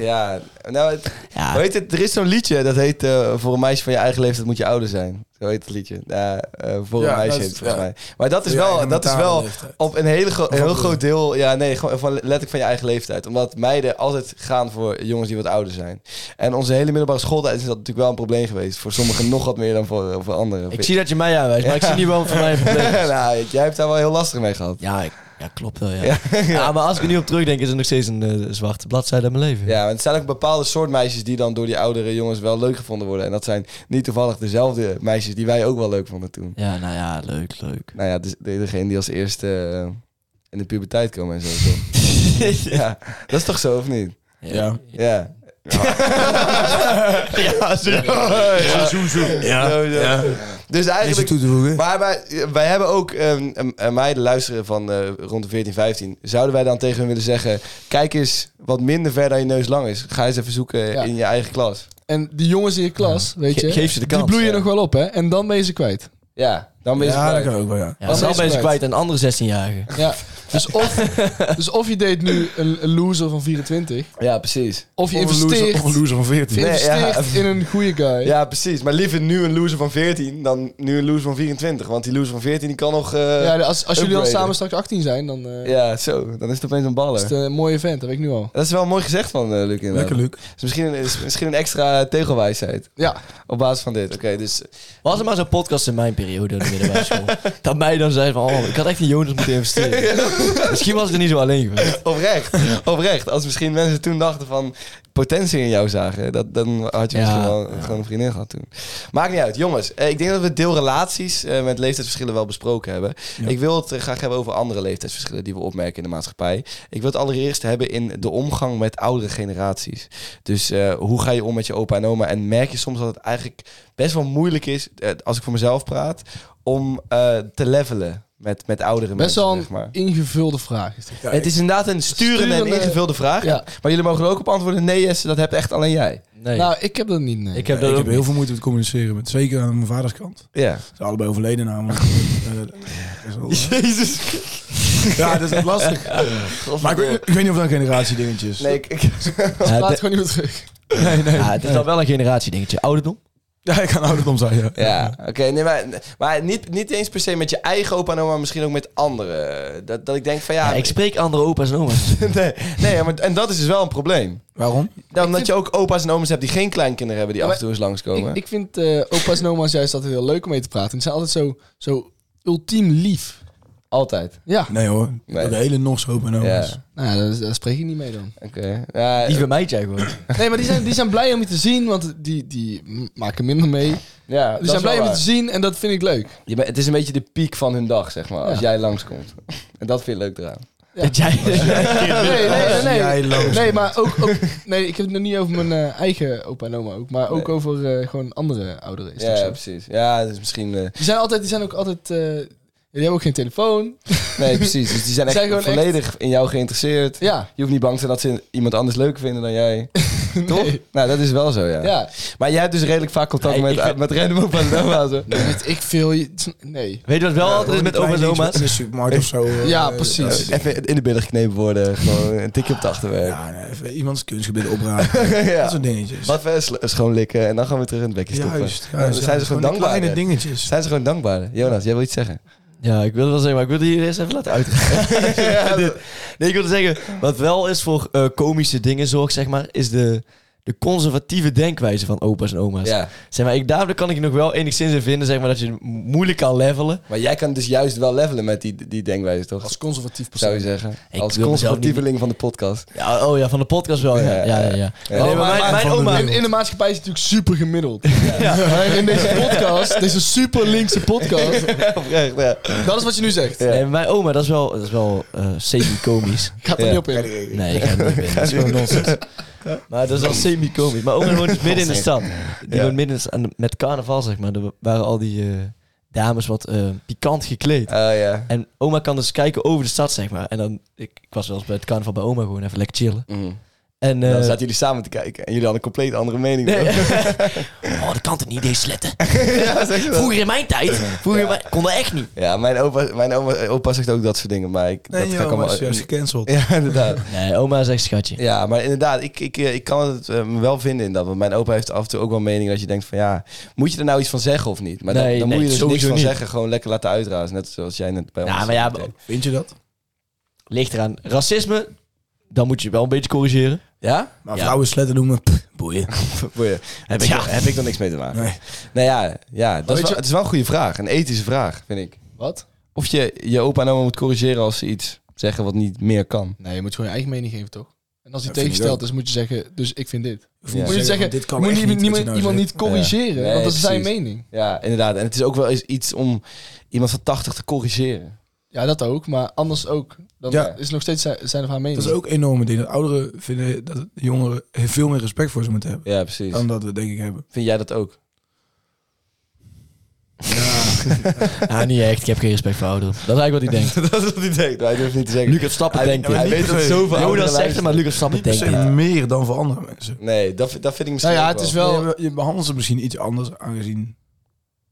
Speaker 2: Nou, het,
Speaker 4: Ja.
Speaker 2: hoe heet het? Er is zo'n liedje dat heet eh, Voor een meisje van je eigen leeftijd moet je ouder zijn. Zo heet het liedje. Ja, eh, voor
Speaker 3: Ja,
Speaker 2: een meisje
Speaker 3: dat
Speaker 2: heet het
Speaker 3: is-
Speaker 2: volgens
Speaker 3: ja.
Speaker 2: mij. Maar dat is
Speaker 3: Je
Speaker 2: wel,
Speaker 3: eigen
Speaker 2: dat is
Speaker 3: mentale
Speaker 2: wel
Speaker 3: leeftijd.
Speaker 2: op een hele gro- heel
Speaker 3: bedoel
Speaker 2: groot deel. Ja, nee, gewoon van, letterlijk van je eigen leeftijd. Omdat meiden altijd gaan voor jongens die wat ouder zijn. En onze hele middelbare schooltijd is dat natuurlijk wel een probleem geweest. Voor sommigen nog wat meer dan voor, voor anderen.
Speaker 4: Ik zie dat je mij aanwijst, maar ik zie niet waarom voor mij
Speaker 3: [LAUGHS]
Speaker 4: een probleem
Speaker 2: [LAUGHS]
Speaker 4: is.
Speaker 2: nou, jij hebt daar wel heel lastig mee gehad.
Speaker 4: Ja, ik- ja klopt wel, ja. ja. maar als ik er nu op terugdenk, is het nog steeds een eh, zwarte bladzijde aan mijn leven.
Speaker 2: Ja, want het zijn ook bepaalde soort meisjes die dan door die oudere jongens wel leuk gevonden worden. En dat zijn niet toevallig dezelfde meisjes die wij ook wel leuk vonden toen.
Speaker 4: Ja, nou ja, leuk, leuk.
Speaker 2: Nou ja, dus de- degene die als eerste eh, in de puberteit komen en zo. [LAUGHS] toch? ja, dat is toch zo of niet?
Speaker 3: Ja.
Speaker 2: Ja. [LAUGHS]
Speaker 4: ja,
Speaker 2: Ja. Dus
Speaker 3: Is er
Speaker 2: eigenlijk...
Speaker 3: toe te voegen?
Speaker 2: Maar wij, wij hebben ook ehm, ehm, eh, meiden luisteren van eh, rond de 14, 15. Zouden wij dan tegen hun willen zeggen... Kijk eens wat minder ver dan je neus lang is. Ga eens even zoeken
Speaker 5: Ja.
Speaker 2: in je eigen klas.
Speaker 5: En die jongens in je klas, weet je...
Speaker 4: Ge- geef ze de
Speaker 5: die
Speaker 4: kans,
Speaker 5: bloeien
Speaker 2: ja.
Speaker 5: nog wel op, hè? En dan ben je ze kwijt.
Speaker 2: Ja, dan ben je
Speaker 3: Ja,
Speaker 2: ze
Speaker 3: dat
Speaker 2: kwijt.
Speaker 3: kan ook wel, ja.
Speaker 4: Ja, dan
Speaker 5: deze
Speaker 4: ben je ze
Speaker 5: kwijt.
Speaker 4: kwijt aan andere 16-jarigen.
Speaker 5: Ja. Dus, of, dus of je deed nu een, een loser van 24...
Speaker 2: Ja, precies.
Speaker 5: Of je
Speaker 3: Of een loser-
Speaker 5: investeert,
Speaker 3: Of een loser van 14.
Speaker 2: Nee, ja.
Speaker 5: investeert in een goede guy.
Speaker 2: Ja, precies. Maar liever nu een loser van 14 dan nu een loser van 24. Want die loser van 14 die kan nog... eh,
Speaker 5: Ja, als, als jullie dan
Speaker 2: upgraden.
Speaker 5: samen straks 18 zijn, dan eh,
Speaker 2: Ja, zo. Dan is het opeens een
Speaker 5: is
Speaker 2: baller.
Speaker 5: het een mooi event. Dat weet ik nu al.
Speaker 2: Dat is wel mooi gezegd van eh Luc inderdaad.
Speaker 3: Lekker, Luc.
Speaker 2: Is misschien, een, is misschien een extra tegelwijsheid
Speaker 5: Ja,
Speaker 2: op basis van dit. Oké, dus...
Speaker 4: Was er maar zo'n podcast in mijn periode in de middelbare school. dat mij dan zei van, oh, ik had echt in Jonas moeten investeren. Misschien was ik er niet zo alleen geweest.
Speaker 2: [LAUGHS] Oprecht. Oprecht. Als misschien mensen toen dachten van... potentie in jou zagen. Dat, dan had je
Speaker 4: Ja,
Speaker 2: misschien wel gewoon een vriendin gehad toen. Maakt niet uit. Jongens, eh, ik denk dat we het deel relaties eh, met leeftijdsverschillen wel besproken hebben.
Speaker 3: Ja.
Speaker 2: Ik wil het eh, graag hebben over andere leeftijdsverschillen die we opmerken in de maatschappij. Ik wil het allereerst hebben in de omgang met oudere generaties. Dus eh, hoe ga je om met je opa en oma? En merk je soms dat het eigenlijk best wel moeilijk is, eh, als ik voor mezelf praat, om eh, te levelen met, met oudere
Speaker 5: best
Speaker 2: mensen.
Speaker 5: wel een
Speaker 2: zeg maar.
Speaker 5: ingevulde vraag. Is dit.
Speaker 3: Ja,
Speaker 2: Het is inderdaad een sturende, en
Speaker 5: Sturende-
Speaker 2: ingevulde vraag.
Speaker 5: Ja.
Speaker 2: Maar jullie mogen er ook op antwoorden. Nee, Jesse, dat hebt echt alleen jij.
Speaker 4: Nee,
Speaker 5: Nou, ik heb dat niet, nee.
Speaker 4: ik
Speaker 3: Ja,
Speaker 4: heb dat
Speaker 3: ik
Speaker 4: ook
Speaker 3: heb heel
Speaker 4: niet.
Speaker 3: veel moeite met communiceren. Met, zeker aan mijn vaders kant. Ze
Speaker 2: Ja.
Speaker 3: zijn allebei overleden
Speaker 2: [LAUGHS]
Speaker 3: namelijk. Eh, dat is wel-
Speaker 2: Jezus.
Speaker 3: ja, dat is lastig.
Speaker 2: [LAUGHS]
Speaker 3: Maar ik, weet- ik weet niet of dat een generatie dingetje is.
Speaker 2: Nee, ik, ik-
Speaker 4: Ja,
Speaker 5: Laat
Speaker 4: het-
Speaker 5: gewoon niet meer terug.
Speaker 4: ja, het is dan wel een generatie dingetje. Ouderdom?
Speaker 3: Ja, ik kan ouderdom zijn, ja.
Speaker 2: Ja, oké. nee, maar maar niet, niet eens per se met je eigen opa en oma, maar misschien ook met anderen. Dat, dat ik denk van ja...
Speaker 4: Ja, ik spreek andere opa's en oma's.
Speaker 2: [LAUGHS] nee, nee maar, en dat is dus wel een probleem.
Speaker 3: Waarom?
Speaker 2: Ja, omdat
Speaker 5: vind-
Speaker 2: je ook opa's en oma's hebt die geen kleinkinderen hebben die
Speaker 5: Ja,
Speaker 2: af en toe eens langskomen.
Speaker 5: Ik, ik vind eh, opa's en oma's juist altijd heel leuk om mee te praten. En ze zijn altijd zo, zo ultiem lief.
Speaker 2: Altijd.
Speaker 5: Ja,
Speaker 3: Nee hoor.
Speaker 2: Nee.
Speaker 3: De hele nos open en
Speaker 2: Ja,
Speaker 3: alles.
Speaker 5: nou, ja, daar, daar spreek ik niet mee dan.
Speaker 2: oké. Ja,
Speaker 4: Die bij mij, jij gewoon.
Speaker 5: Nee, maar die zijn, die zijn blij om je te zien, want die, die m- maken minder mee. Die
Speaker 2: ja, dat is
Speaker 5: zijn
Speaker 2: wel
Speaker 5: blij om je
Speaker 2: waar.
Speaker 5: te zien en dat vind ik leuk.
Speaker 2: Je bent- het is een beetje de piek van hun dag, zeg maar, als
Speaker 5: Ja.
Speaker 2: jij langskomt. [LAUGHS] En dat vind ik leuk eraan.
Speaker 4: [LAUGHS] Dat jij...
Speaker 5: Nee, nee, nee.
Speaker 3: Jij
Speaker 5: Nee,
Speaker 3: langs-
Speaker 5: nee maar ook, ook... Nee, ik heb het nog niet over mijn eh, eigen opa en oma ook. Maar ook
Speaker 2: Nee.
Speaker 5: over eh, gewoon andere ouderen. Is
Speaker 2: Ja,
Speaker 5: dat zo?
Speaker 2: precies. Ja, dus misschien... eh,
Speaker 5: Die zijn, altijd, die zijn ook altijd... eh, die hebben ook geen telefoon.
Speaker 2: nee, precies. Dus die zijn echt
Speaker 5: Zijn gewoon
Speaker 2: volledig in jou geïnteresseerd.
Speaker 5: Ja.
Speaker 2: Je hoeft niet bang te zijn dat ze iemand anders leuk vinden dan jij. Toch?
Speaker 5: Nee.
Speaker 2: Nou, dat is wel zo, ja.
Speaker 5: Ja.
Speaker 2: Maar jij hebt dus redelijk vaak contact
Speaker 4: Nee,
Speaker 2: met,
Speaker 4: ik vind-
Speaker 2: met random opa's en oma's, hè?
Speaker 5: Weet ik veel... je- Nee.
Speaker 4: Weet je wat wel altijd is
Speaker 3: Gewoon
Speaker 4: met
Speaker 3: die
Speaker 4: opa's en
Speaker 3: kleine
Speaker 4: oma's?
Speaker 3: iets In de supermarkt of zo. eh,
Speaker 5: Ja,
Speaker 3: eh,
Speaker 5: precies.
Speaker 2: Even in de billen geknepen worden. Gewoon een tikje op het achterwerk.
Speaker 3: Ja, nee, even iemands kunstgebied
Speaker 2: [LAUGHS]
Speaker 3: opraken. Dat soort dingetjes.
Speaker 2: Wat we sl- schoonlikken en dan gaan we terug in het bekje stoppen.
Speaker 3: Juist.
Speaker 2: Ja, dan
Speaker 3: juist,
Speaker 2: zijn
Speaker 3: ja.
Speaker 2: ze gewoon
Speaker 3: die
Speaker 2: dankbaar.
Speaker 3: Kleine dingetjes.
Speaker 2: Zijn ze gewoon dankbaar? Jonas, jij wil iets zeggen?
Speaker 4: Ja, ik wilde wel zeggen, maar ik wilde hier eerst even laten uitgaan. Dit. nee, ik wilde zeggen, wat wel is voor eh, komische dingen zorgt, zeg maar, is de, de conservatieve denkwijze van opa's en oma's.
Speaker 2: Ja.
Speaker 4: Zeg maar, ik, daar kan ik je nog wel enigszins in vinden, zeg maar, dat je het mo- moeilijk kan levelen.
Speaker 2: Maar jij kan dus juist wel levelen met die, die denkwijze, toch?
Speaker 5: Als conservatief persoon.
Speaker 2: zou je zeggen.
Speaker 4: Ik
Speaker 2: als
Speaker 4: wil mezelf
Speaker 2: conservatieveling van de podcast.
Speaker 4: Ja, oh ja, van de podcast wel, ja.
Speaker 2: Ja,
Speaker 4: ja, ja, ja. Nee, maar
Speaker 2: maar-
Speaker 4: mijn, mijn
Speaker 3: van de
Speaker 4: oma...
Speaker 5: In, in de maatschappij is het natuurlijk super gemiddeld. [LAUGHS] Maar in deze podcast, deze super linkse podcast,
Speaker 2: [LAUGHS] Oprecht, ja.
Speaker 5: dat is wat je nu zegt.
Speaker 2: Ja.
Speaker 4: nee, mijn oma, dat is wel, dat is wel eh, semi-komisch.
Speaker 5: Gaat er
Speaker 2: Ja.
Speaker 5: niet op in.
Speaker 4: Nee, ik ga het niet meer. Dat is gewoon nonsens. Maar dat is wel semi-komisch. Maar oma woont dus midden in de stad. Die
Speaker 2: Ja.
Speaker 4: woont midden in de stad. En Met carnaval, zeg maar. Er waren al die eh, dames wat eh, pikant gekleed.
Speaker 2: Oh ja.
Speaker 4: En oma kan dus kijken over de stad, zeg maar. En dan... Ik, ik was wel eens bij het carnaval bij oma gewoon even lekker chillen.
Speaker 2: Mm.
Speaker 4: En... eh,
Speaker 2: Dan zaten jullie samen te kijken en jullie hadden een compleet andere mening.
Speaker 4: nee.
Speaker 2: toch?
Speaker 4: [LAUGHS] oh, dat kan toch niet, deze sletten. [LAUGHS]
Speaker 2: ja, zeg je dat?
Speaker 4: Vroeger in mijn tijd, vroeger in mijn- kon dat echt niet.
Speaker 2: Ja, mijn opa, mijn oma, opa zegt ook dat soort dingen, maar ik,
Speaker 3: Nee,
Speaker 2: dat
Speaker 3: joh,
Speaker 2: ga ik allemaal...
Speaker 3: maar is juist
Speaker 2: [LAUGHS]
Speaker 3: gecanceld.
Speaker 2: Ja, inderdaad.
Speaker 4: Nee, oma is echt schatje.
Speaker 2: Ja, maar inderdaad, ik, ik, eh, ik kan het eh, me wel vinden in dat. Want mijn opa heeft af en toe ook wel meningen dat je denkt van ja, moet je er nou iets van zeggen of niet? Maar dan,
Speaker 4: Nee,
Speaker 2: dan
Speaker 4: nee,
Speaker 2: moet je dus niks
Speaker 4: sowieso
Speaker 2: van
Speaker 4: niet.
Speaker 2: zeggen, gewoon lekker laten uitrazen. Net zoals jij net bij ons.
Speaker 4: Nou, maar ja,
Speaker 2: deed.
Speaker 3: Vind je dat?
Speaker 4: ligt eraan. Racisme, dan moet je wel een beetje corrigeren. [LAUGHS]
Speaker 2: ja?
Speaker 3: Maar
Speaker 4: Ja.
Speaker 3: vrouwen sletten noemen, pff, boeien.
Speaker 2: Boeien. Heb, ik,
Speaker 4: Ja.
Speaker 2: heb ik er niks mee te maken?
Speaker 3: Nee.
Speaker 2: Nou ja, ja dat
Speaker 5: weet
Speaker 2: is wel,
Speaker 5: je-
Speaker 2: het is wel een goede vraag. Een ethische vraag, vind ik.
Speaker 5: Wat?
Speaker 2: Of je je opa en oma moet corrigeren als ze iets zeggen wat niet meer kan.
Speaker 5: Nee, je moet gewoon je eigen mening geven, toch? En als hij
Speaker 3: Dat vind ik
Speaker 5: tegenstelt, dus moet je zeggen, dus ik vind dit.
Speaker 3: Of
Speaker 2: Ja.
Speaker 5: Moet je zeggen,
Speaker 3: dit kan
Speaker 5: moet
Speaker 3: echt
Speaker 5: je
Speaker 3: niet,
Speaker 5: niet,
Speaker 3: wat
Speaker 5: niemand-
Speaker 3: je nou
Speaker 5: iemand
Speaker 3: zegt.
Speaker 5: niet corrigeren,
Speaker 2: Ja.
Speaker 5: want dat is
Speaker 2: Nee,
Speaker 5: zijn
Speaker 2: precies.
Speaker 5: mening.
Speaker 2: Ja, inderdaad. En het is ook wel eens iets om iemand van 80 te corrigeren.
Speaker 5: Ja, dat ook, maar anders ook. Dan
Speaker 3: Ja.
Speaker 5: is het nog steeds zijn, zijn of haar mening.
Speaker 3: Dat is ook een enorme ding. Dat ouderen vinden dat de jongeren heel veel meer respect voor ze moeten hebben.
Speaker 2: Ja, precies.
Speaker 3: Dan dat we denk ik hebben.
Speaker 2: Vind jij dat ook?
Speaker 3: [LAUGHS]
Speaker 4: Ah, niet echt. Ik heb geen respect voor ouderen. Dat is eigenlijk wat hij [LAUGHS] denkt.
Speaker 2: [LAUGHS] dat is wat hij denkt. Hij durft niet te zeggen.
Speaker 4: Lucas Stappen
Speaker 2: Hij-
Speaker 4: denkt
Speaker 2: hij
Speaker 4: dit.
Speaker 2: weet dat zoveel ouderen
Speaker 4: Jonas zegt het, maar Lucas Stappen
Speaker 3: Niet per
Speaker 4: denkt
Speaker 3: se
Speaker 4: dit.
Speaker 3: meer dan voor andere mensen.
Speaker 2: Nee, dat, vind- dat vind ik misschien
Speaker 5: nou ja,
Speaker 2: ook
Speaker 5: het is
Speaker 2: wel.
Speaker 5: wel...
Speaker 3: Nee, je behandelt ze misschien iets anders aangezien.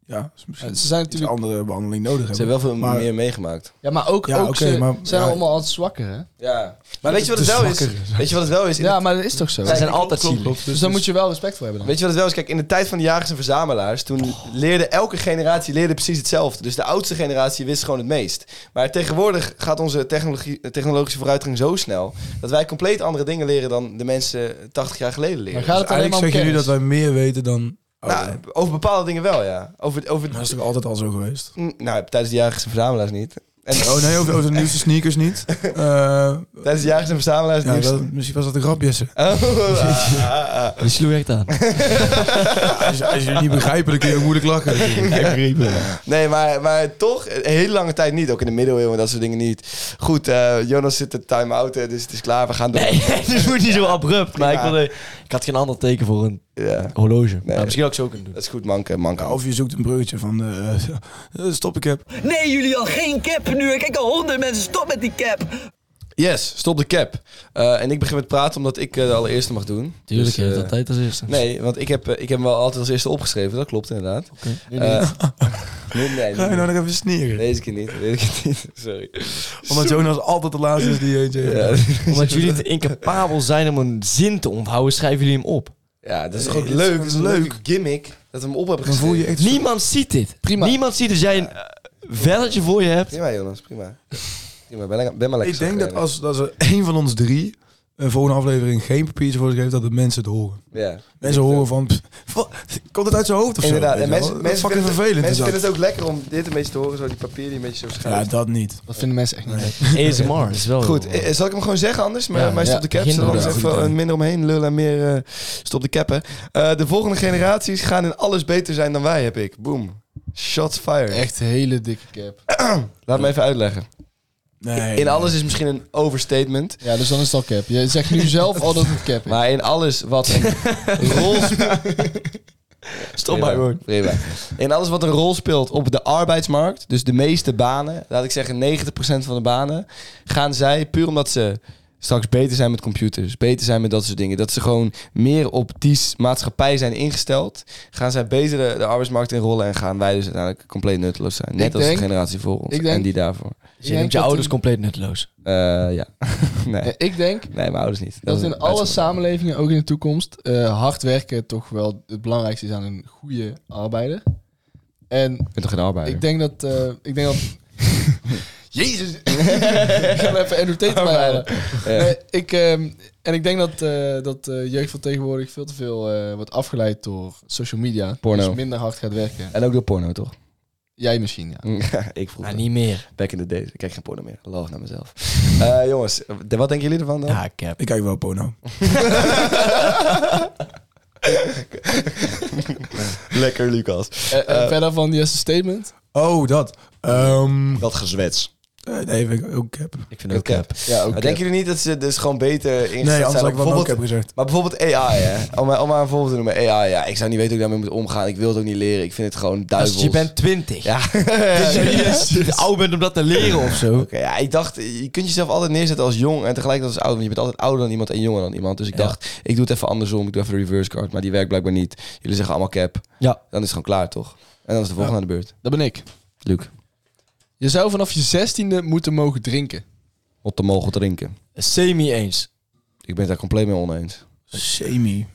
Speaker 3: Ja, ze misschien
Speaker 5: ze zijn
Speaker 3: iets
Speaker 5: natuurlijk...
Speaker 3: andere behandeling nodig
Speaker 2: Ze
Speaker 3: hebben.
Speaker 2: hebben wel veel
Speaker 3: Maar-
Speaker 2: meer meegemaakt.
Speaker 5: Ja, maar ook,
Speaker 3: Ja,
Speaker 5: ook
Speaker 3: oké,
Speaker 5: ze
Speaker 3: maar-
Speaker 5: zijn
Speaker 3: ja.
Speaker 5: allemaal altijd zwakker, hè?
Speaker 2: Ja. Maar weet je wat het
Speaker 3: Te
Speaker 2: wel is? dus
Speaker 3: zwakker.
Speaker 2: Weet je wat het wel is? In
Speaker 5: Ja, maar dat is toch zo?
Speaker 4: Ze zijn
Speaker 2: klopt,
Speaker 4: altijd
Speaker 2: klopt,
Speaker 4: zielig.
Speaker 5: dus daar moet je wel respect voor hebben
Speaker 2: de-
Speaker 5: dan.
Speaker 2: Weet je wat het wel is? Kijk, in de tijd van de jagers en verzamelaars, toen leerde elke generatie leerde precies hetzelfde. Dus de oudste generatie wist gewoon het meest. Maar tegenwoordig gaat onze technologie, eh, technologische vooruitgang zo snel dat wij compleet andere dingen leren dan de mensen 80 jaar geleden
Speaker 5: Maar
Speaker 2: leren.
Speaker 5: gaat
Speaker 3: Dus
Speaker 5: het alleen
Speaker 3: eigenlijk
Speaker 5: maar om
Speaker 3: zeg je nu dat
Speaker 5: kennis?
Speaker 3: wij meer weten dan.
Speaker 2: Nou,
Speaker 3: ouderen.
Speaker 2: over bepaalde dingen wel, ja. Over, over,
Speaker 3: dat is toch altijd al zo geweest?
Speaker 2: [LAUGHS] Mm, nou, tijdens de jagers en verzamelaars niet. En,
Speaker 3: Oh nee, over, over de nieuwste sneakers niet. Eh,
Speaker 2: [LAUGHS] tijdens de jagers en verzamelaars
Speaker 3: ja,
Speaker 2: niet.
Speaker 3: dat, misschien was dat een grapje. Jesse.
Speaker 2: Oh, ah, ah, ah.
Speaker 4: Die sloeg echt aan. [LAUGHS]
Speaker 3: Als, je- als je het niet begrijpt, dan kun je ook moeilijk lachen.
Speaker 2: Nee, maar, maar toch, een hele lange tijd niet. Ook in de middeleeuwen en dat soort dingen niet. Goed, eh, Jonas zit de time-out, eh, dus het is klaar. We gaan door.
Speaker 4: Nee, het moet niet zo abrupt. Maar ik,
Speaker 2: Prima.
Speaker 4: wilde, ik had geen ander teken voor een
Speaker 2: Ja,
Speaker 4: horloge.
Speaker 2: Nee.
Speaker 4: Maar misschien had ik zo kunnen doen.
Speaker 2: dat is goed, manke. manke.
Speaker 3: [LAUGHS] Ja, of je zoekt een bruggetje van. eh, eh, [LAUGHS] stop ik heb.
Speaker 1: Nee, jullie al geen cap nu. Ik kijk al honderd mensen. Stop met die cap.
Speaker 2: Yes, stop de cap. Eh, en ik begin met praten omdat ik eh, de allereerste mag doen.
Speaker 4: Tuurlijk,
Speaker 2: Dus, eh,
Speaker 4: dat tijd als eerste.
Speaker 2: Nee, want ik heb, eh, ik heb hem wel altijd als eerste opgeschreven. Dat klopt inderdaad.
Speaker 5: Nu
Speaker 2: Eh, [LAUGHS]
Speaker 5: niet.
Speaker 2: nee, nee,
Speaker 3: Ga je
Speaker 2: nee,
Speaker 3: nou nog even sneren?
Speaker 2: Deze keer niet, deze keer niet. [LAUGHS] Sorry.
Speaker 3: Omdat Jonas altijd de laatste is die eentje heeft.
Speaker 2: Ja, [LAUGHS]
Speaker 4: Omdat [LAUGHS] jullie te incapabel zijn om een zin te onthouden, schrijven jullie hem op.
Speaker 2: ja dat is toch
Speaker 3: Nee,
Speaker 2: ook
Speaker 3: dit is
Speaker 2: leuk.
Speaker 3: gewoon
Speaker 2: Dat is een
Speaker 3: leuk.
Speaker 2: leuke gimmick. dat we hem op hebben
Speaker 3: Dan voel
Speaker 2: geschreven.
Speaker 3: je echt... een soort-
Speaker 4: Niemand ziet dit.
Speaker 5: Prima.
Speaker 4: Niemand ziet dat jij een eh, velletje voor je [LAUGHS] hebt.
Speaker 2: Prima, Jonas, prima. Prima, ben, lekker- ben maar lekker
Speaker 3: Ik denk
Speaker 2: zacht,
Speaker 3: dat als, als er één van ons drie een volgende aflevering geen papiertje voor zich heeft, dat de mensen het horen.
Speaker 2: Ja.
Speaker 3: Mensen horen van, pff, wat? komt het uit zijn hoofd of
Speaker 2: Inderdaad,
Speaker 3: zo?
Speaker 2: en
Speaker 3: weet je
Speaker 2: mensen,
Speaker 3: wel?
Speaker 2: mensen,
Speaker 3: fucking
Speaker 2: vinden, het,
Speaker 3: vervelend. is
Speaker 2: mensen
Speaker 3: dat.
Speaker 2: vinden het ook lekker om dit een beetje te horen, zo die papier die een beetje zo
Speaker 3: Ja,
Speaker 2: schuift.
Speaker 3: dat niet.
Speaker 5: Dat vinden mensen echt niet leuk.
Speaker 4: ASMR is wel
Speaker 2: Goed, eh, zal ik hem gewoon zeggen anders? Maar,
Speaker 4: Ja,
Speaker 2: maar stop
Speaker 4: ja,
Speaker 2: de cap,
Speaker 4: begin
Speaker 2: zodat we
Speaker 4: maar.
Speaker 2: eens
Speaker 3: Ja, goed
Speaker 2: even
Speaker 3: idee.
Speaker 2: een minder omheen lullen en meer eh, stop de cappen. Eh, de volgende generaties gaan in alles beter zijn dan wij, heb ik. Boom. Shots fired.
Speaker 5: Echt hele dikke cap.
Speaker 2: Laat me even uitleggen.
Speaker 3: Nee.
Speaker 2: In alles is misschien een overstatement,
Speaker 5: Ja, dus dan is het al cap. Je zegt nu zelf al dat het cap is.
Speaker 2: maar in alles wat een
Speaker 3: [LAUGHS]
Speaker 2: rol speelt...
Speaker 4: Stop maar gewoon.
Speaker 2: Prima. In alles wat een rol speelt op de arbeidsmarkt, dus de meeste banen, laat ik zeggen 90% van de banen, gaan zij puur omdat ze straks beter zijn met computers, beter zijn met dat soort dingen, dat ze gewoon meer op die s- maatschappij zijn ingesteld, gaan zij beter de, de arbeidsmarkt inrollen en gaan wij dus uiteindelijk compleet nutteloos zijn. Net
Speaker 5: Ik
Speaker 2: als
Speaker 5: denk-
Speaker 2: de generatie voor ons
Speaker 5: ik denk-
Speaker 2: en die daarvoor.
Speaker 4: Dus je neemt je ouders compleet nutteloos.
Speaker 2: Eh, ja. [LAUGHS] nee.
Speaker 5: Ja, ik denk
Speaker 2: nee, mijn ouders niet.
Speaker 5: dat
Speaker 2: is
Speaker 5: in
Speaker 2: een
Speaker 5: alle
Speaker 2: uitzondering.
Speaker 5: samenlevingen, ook in de toekomst, eh, hard werken toch wel het belangrijkste is aan een goede arbeider. En
Speaker 2: Ik ben toch geen arbeider?
Speaker 5: ik denk dat... eh, ik denk dat... [LAUGHS] Jezus! ik ga even NOT erbij halen.
Speaker 2: Ja.
Speaker 5: Nee, ik, ehm, en ik denk dat, eh, dat eh, jeugd van tegenwoordig veel te veel eh, wordt afgeleid door social media.
Speaker 2: Porno.
Speaker 5: Dus minder hard gaat werken.
Speaker 2: En ook door porno,
Speaker 5: [LAUGHS]
Speaker 2: toch?
Speaker 5: Jij misschien,
Speaker 2: [LAUGHS]
Speaker 5: ja.
Speaker 2: ik vroeg
Speaker 4: Maar Ah, niet meer.
Speaker 2: Back in the days. Ik kijk geen porno meer. Love naar mezelf. Eh, jongens, de- wat denken jullie ervan dan?
Speaker 4: Ja, cap.
Speaker 3: Ik kijk wel
Speaker 2: [LAUGHS]
Speaker 3: porno.
Speaker 2: Lekker, Lucas.
Speaker 5: Eh, eh, verder van Jesse statement.
Speaker 3: Oh, dat. Ehm
Speaker 2: Dat gezwets.
Speaker 3: eh, nee, vind ik ook cap.
Speaker 4: Ik vind het ook cap.
Speaker 2: Ja, ook denken jullie niet dat ze dus gewoon beter ingesteld
Speaker 3: Nee, anders
Speaker 2: zijn?
Speaker 3: had
Speaker 2: op
Speaker 3: ik wel ook
Speaker 2: bijvoorbeeld,
Speaker 3: cap gezegd.
Speaker 2: maar bijvoorbeeld AI, hè? Om, maar- om maar een voorbeeld te noemen. AI, ja. Ik zou niet weten hoe ik daarmee moet omgaan. Ik wil het ook niet leren. Ik vind het gewoon duivels.
Speaker 4: Als je bent 20.
Speaker 2: Ja. [LAUGHS]
Speaker 4: Als [LAUGHS] je te oud bent om dat te leren of zo.
Speaker 2: Oké, ja, ik dacht, je kunt jezelf altijd neerzetten als jong en tegelijkertijd als oud. Want je bent altijd ouder dan iemand en jonger dan iemand. Dus ik
Speaker 4: Ja.
Speaker 2: dacht, ik doe het even andersom. Ik doe even de reverse card. Maar die werkt blijkbaar niet. Jullie zeggen allemaal cap.
Speaker 4: Ja.
Speaker 2: Dan is het gewoon klaar, toch? En dan is de volgende aan de beurt.
Speaker 5: Dat ben ik.
Speaker 2: Luc,
Speaker 5: Je zou vanaf je zestiende moeten mogen drinken.
Speaker 2: op de mogel drinken.
Speaker 4: Semi eens.
Speaker 2: Ik ben het daar compleet mee oneens.
Speaker 3: Semi.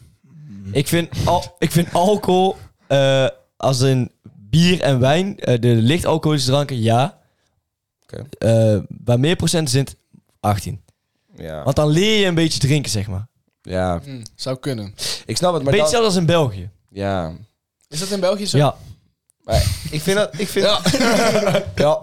Speaker 4: Ik vind, al, ik vind alcohol, eh, als in bier en wijn, eh, de licht alcoholische dranken, ja.
Speaker 2: Oké.
Speaker 4: Eh, waar meer procent zit, 18.
Speaker 2: Ja.
Speaker 4: Want dan leer je een beetje drinken, zeg maar.
Speaker 2: Ja,
Speaker 5: Hm, Zou kunnen.
Speaker 2: ik snap het, maar
Speaker 4: beetje
Speaker 2: dan...
Speaker 4: hetzelfde als in België.
Speaker 2: Ja.
Speaker 5: Is dat in België zo?
Speaker 4: Ja.
Speaker 2: Maar ik vind dat... Ik vind...
Speaker 5: Ja.
Speaker 2: Ja.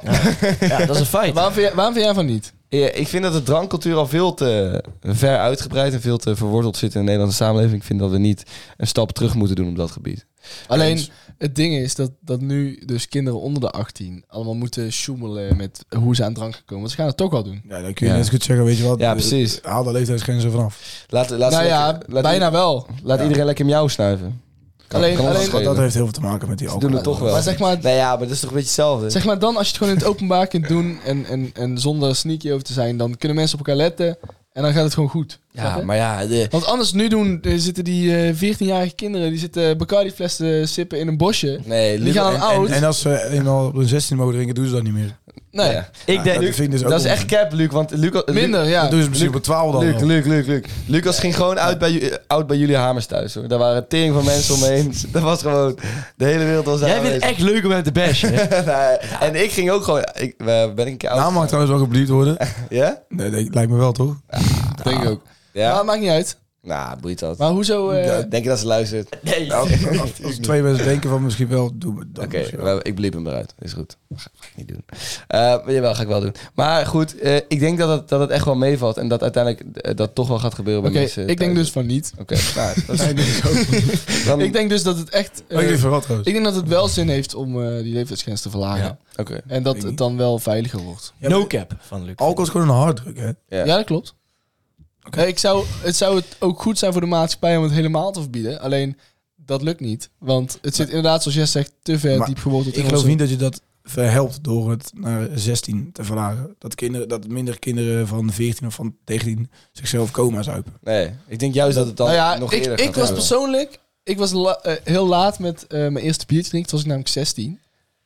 Speaker 4: ja, dat is een feit.
Speaker 5: Waarom vind, jij, waarom vind jij van niet?
Speaker 2: Ja, ik vind dat de drankcultuur al veel te ver uitgebreid en veel te verworteld zit in de Nederlandse samenleving. Ik vind dat we niet een stap terug moeten doen op dat gebied.
Speaker 5: Alleen het ding is dat, dat nu dus kinderen onder de 18 allemaal moeten sjoemelen met hoe ze aan drank gekomen. Want ze gaan het toch wel doen.
Speaker 3: Ja, dan kun je
Speaker 2: Ja.
Speaker 3: net zo goed zeggen, weet je wat. Eh,
Speaker 2: Ja, precies.
Speaker 3: Haal de leeftijdsgrens er vanaf.
Speaker 2: Laat, laat,
Speaker 5: nou
Speaker 2: ze
Speaker 5: ja,
Speaker 2: lekker- laat,
Speaker 5: bijna wel.
Speaker 2: Laat iedereen lekker miauw snuiven. Kan-
Speaker 5: Alleen-
Speaker 2: kan ons
Speaker 5: alleen-
Speaker 2: schelen.
Speaker 3: Dat heeft heel veel te maken met die
Speaker 2: Ze doen
Speaker 3: alcohol.
Speaker 2: het toch wel.
Speaker 5: Maar zeg maar,
Speaker 2: Nee, ja, maar dat is toch een beetje hetzelfde?
Speaker 5: zeg maar dan als je het gewoon in het openbaar kunt doen en, en, en zonder sneaky over te zijn, dan kunnen mensen op elkaar letten en dan gaat het gewoon goed. Snap
Speaker 2: ja,
Speaker 5: je?
Speaker 2: maar ja... De...
Speaker 5: Want anders nu doen, eh, zitten die eh, 14-jarige kinderen, die zitten Bacardi flessen sippen in een bosje.
Speaker 2: Nee,
Speaker 5: Die gaan
Speaker 2: en-
Speaker 5: dan oud.
Speaker 3: En, en als ze eenmaal op hun 16 mogen drinken, doen ze dat niet meer.
Speaker 5: nee,
Speaker 2: Ja.
Speaker 4: ik
Speaker 3: Ja,
Speaker 4: denk,
Speaker 3: dat vind ik dus ook
Speaker 2: Dat is echt cap, Luc, want Luc... Luc-
Speaker 5: minder, ja.
Speaker 3: Dat doen ze misschien op 12 dan.
Speaker 2: Luc,
Speaker 3: wel.
Speaker 2: Luc, Luc, Luc. Lucas ging gewoon uit bij, ju- eh, oud bij jullie hamers thuis, hoor. Daar waren tering van mensen omheen. [LAUGHS] Dat was gewoon... De hele wereld was daar
Speaker 4: jij vindt het
Speaker 2: aanwezig.
Speaker 4: echt leuk om hem te bashen. [LAUGHS] hè?
Speaker 2: [LAUGHS] Nee, En ik ging ook gewoon... Ik, eh, ben ik een keer oud?
Speaker 3: Naam Nou, mag trouwens wel geblieft worden.
Speaker 2: Ja?
Speaker 3: Nee, dat lijkt me wel, toch?
Speaker 5: denk ik ook.
Speaker 2: Ah. Ja?
Speaker 5: Maar maakt niet uit.
Speaker 2: Nou, boeit dat.
Speaker 5: Maar hoezo... eh,
Speaker 2: Denk je dat ze luistert? [LAUGHS]
Speaker 4: Nee.
Speaker 3: Als,
Speaker 5: [LAUGHS]
Speaker 3: als- als twee mensen denken van misschien wel, doen we dat
Speaker 2: Oké,
Speaker 3: misschien wel.
Speaker 2: maar ik bliep hem eruit. Is goed. Ga ga ik niet doen. Eh, maar jawel, ga ik wel doen. Maar goed, eh, ik denk dat het, dat het echt wel meevalt. En dat uiteindelijk eh, dat toch wel gaat gebeuren bij
Speaker 5: Oké,
Speaker 2: mensen.
Speaker 5: ik denk
Speaker 2: thuis.
Speaker 5: dus van niet.
Speaker 2: Oké,
Speaker 5: [LAUGHS]
Speaker 2: nou, dat is... [LAUGHS] Dan-
Speaker 5: Ik denk dus dat het echt... eh,
Speaker 3: Oh, ik denk van wat trouwens.
Speaker 5: ik denk dat het wel zin heeft om eh, die leeftijdsgrens te verlagen.
Speaker 4: Ja.
Speaker 2: Oké,
Speaker 5: En dat het dan wel veiliger wordt.
Speaker 3: Ja,
Speaker 4: no
Speaker 3: maar-
Speaker 4: cap van Luc.
Speaker 3: Alcohol is gewoon een harddruk, hè?
Speaker 2: Ja.
Speaker 5: Ja, dat klopt. Eh, ik zou, het zou het ook goed zijn voor de maatschappij om het helemaal te verbieden. Alleen, dat lukt niet. Want het zit inderdaad, zoals jij zegt, te ver
Speaker 3: Maar
Speaker 5: diep geworteld in
Speaker 3: Ik geloof
Speaker 5: onze-
Speaker 3: niet dat je dat verhelpt door het naar 16 te verlagen. Dat, kinderen, dat minder kinderen van 14 of van 19 zichzelf coma zuipen.
Speaker 2: nee. Ik denk juist dat het dan
Speaker 5: Nou ja,
Speaker 2: nog
Speaker 5: ik,
Speaker 2: eerder
Speaker 5: ik
Speaker 2: gaat
Speaker 5: was
Speaker 2: gebeuren.
Speaker 5: persoonlijk... Ik was la- eh, heel laat met eh, mijn eerste biertje drinken. Toen was ik namelijk 16.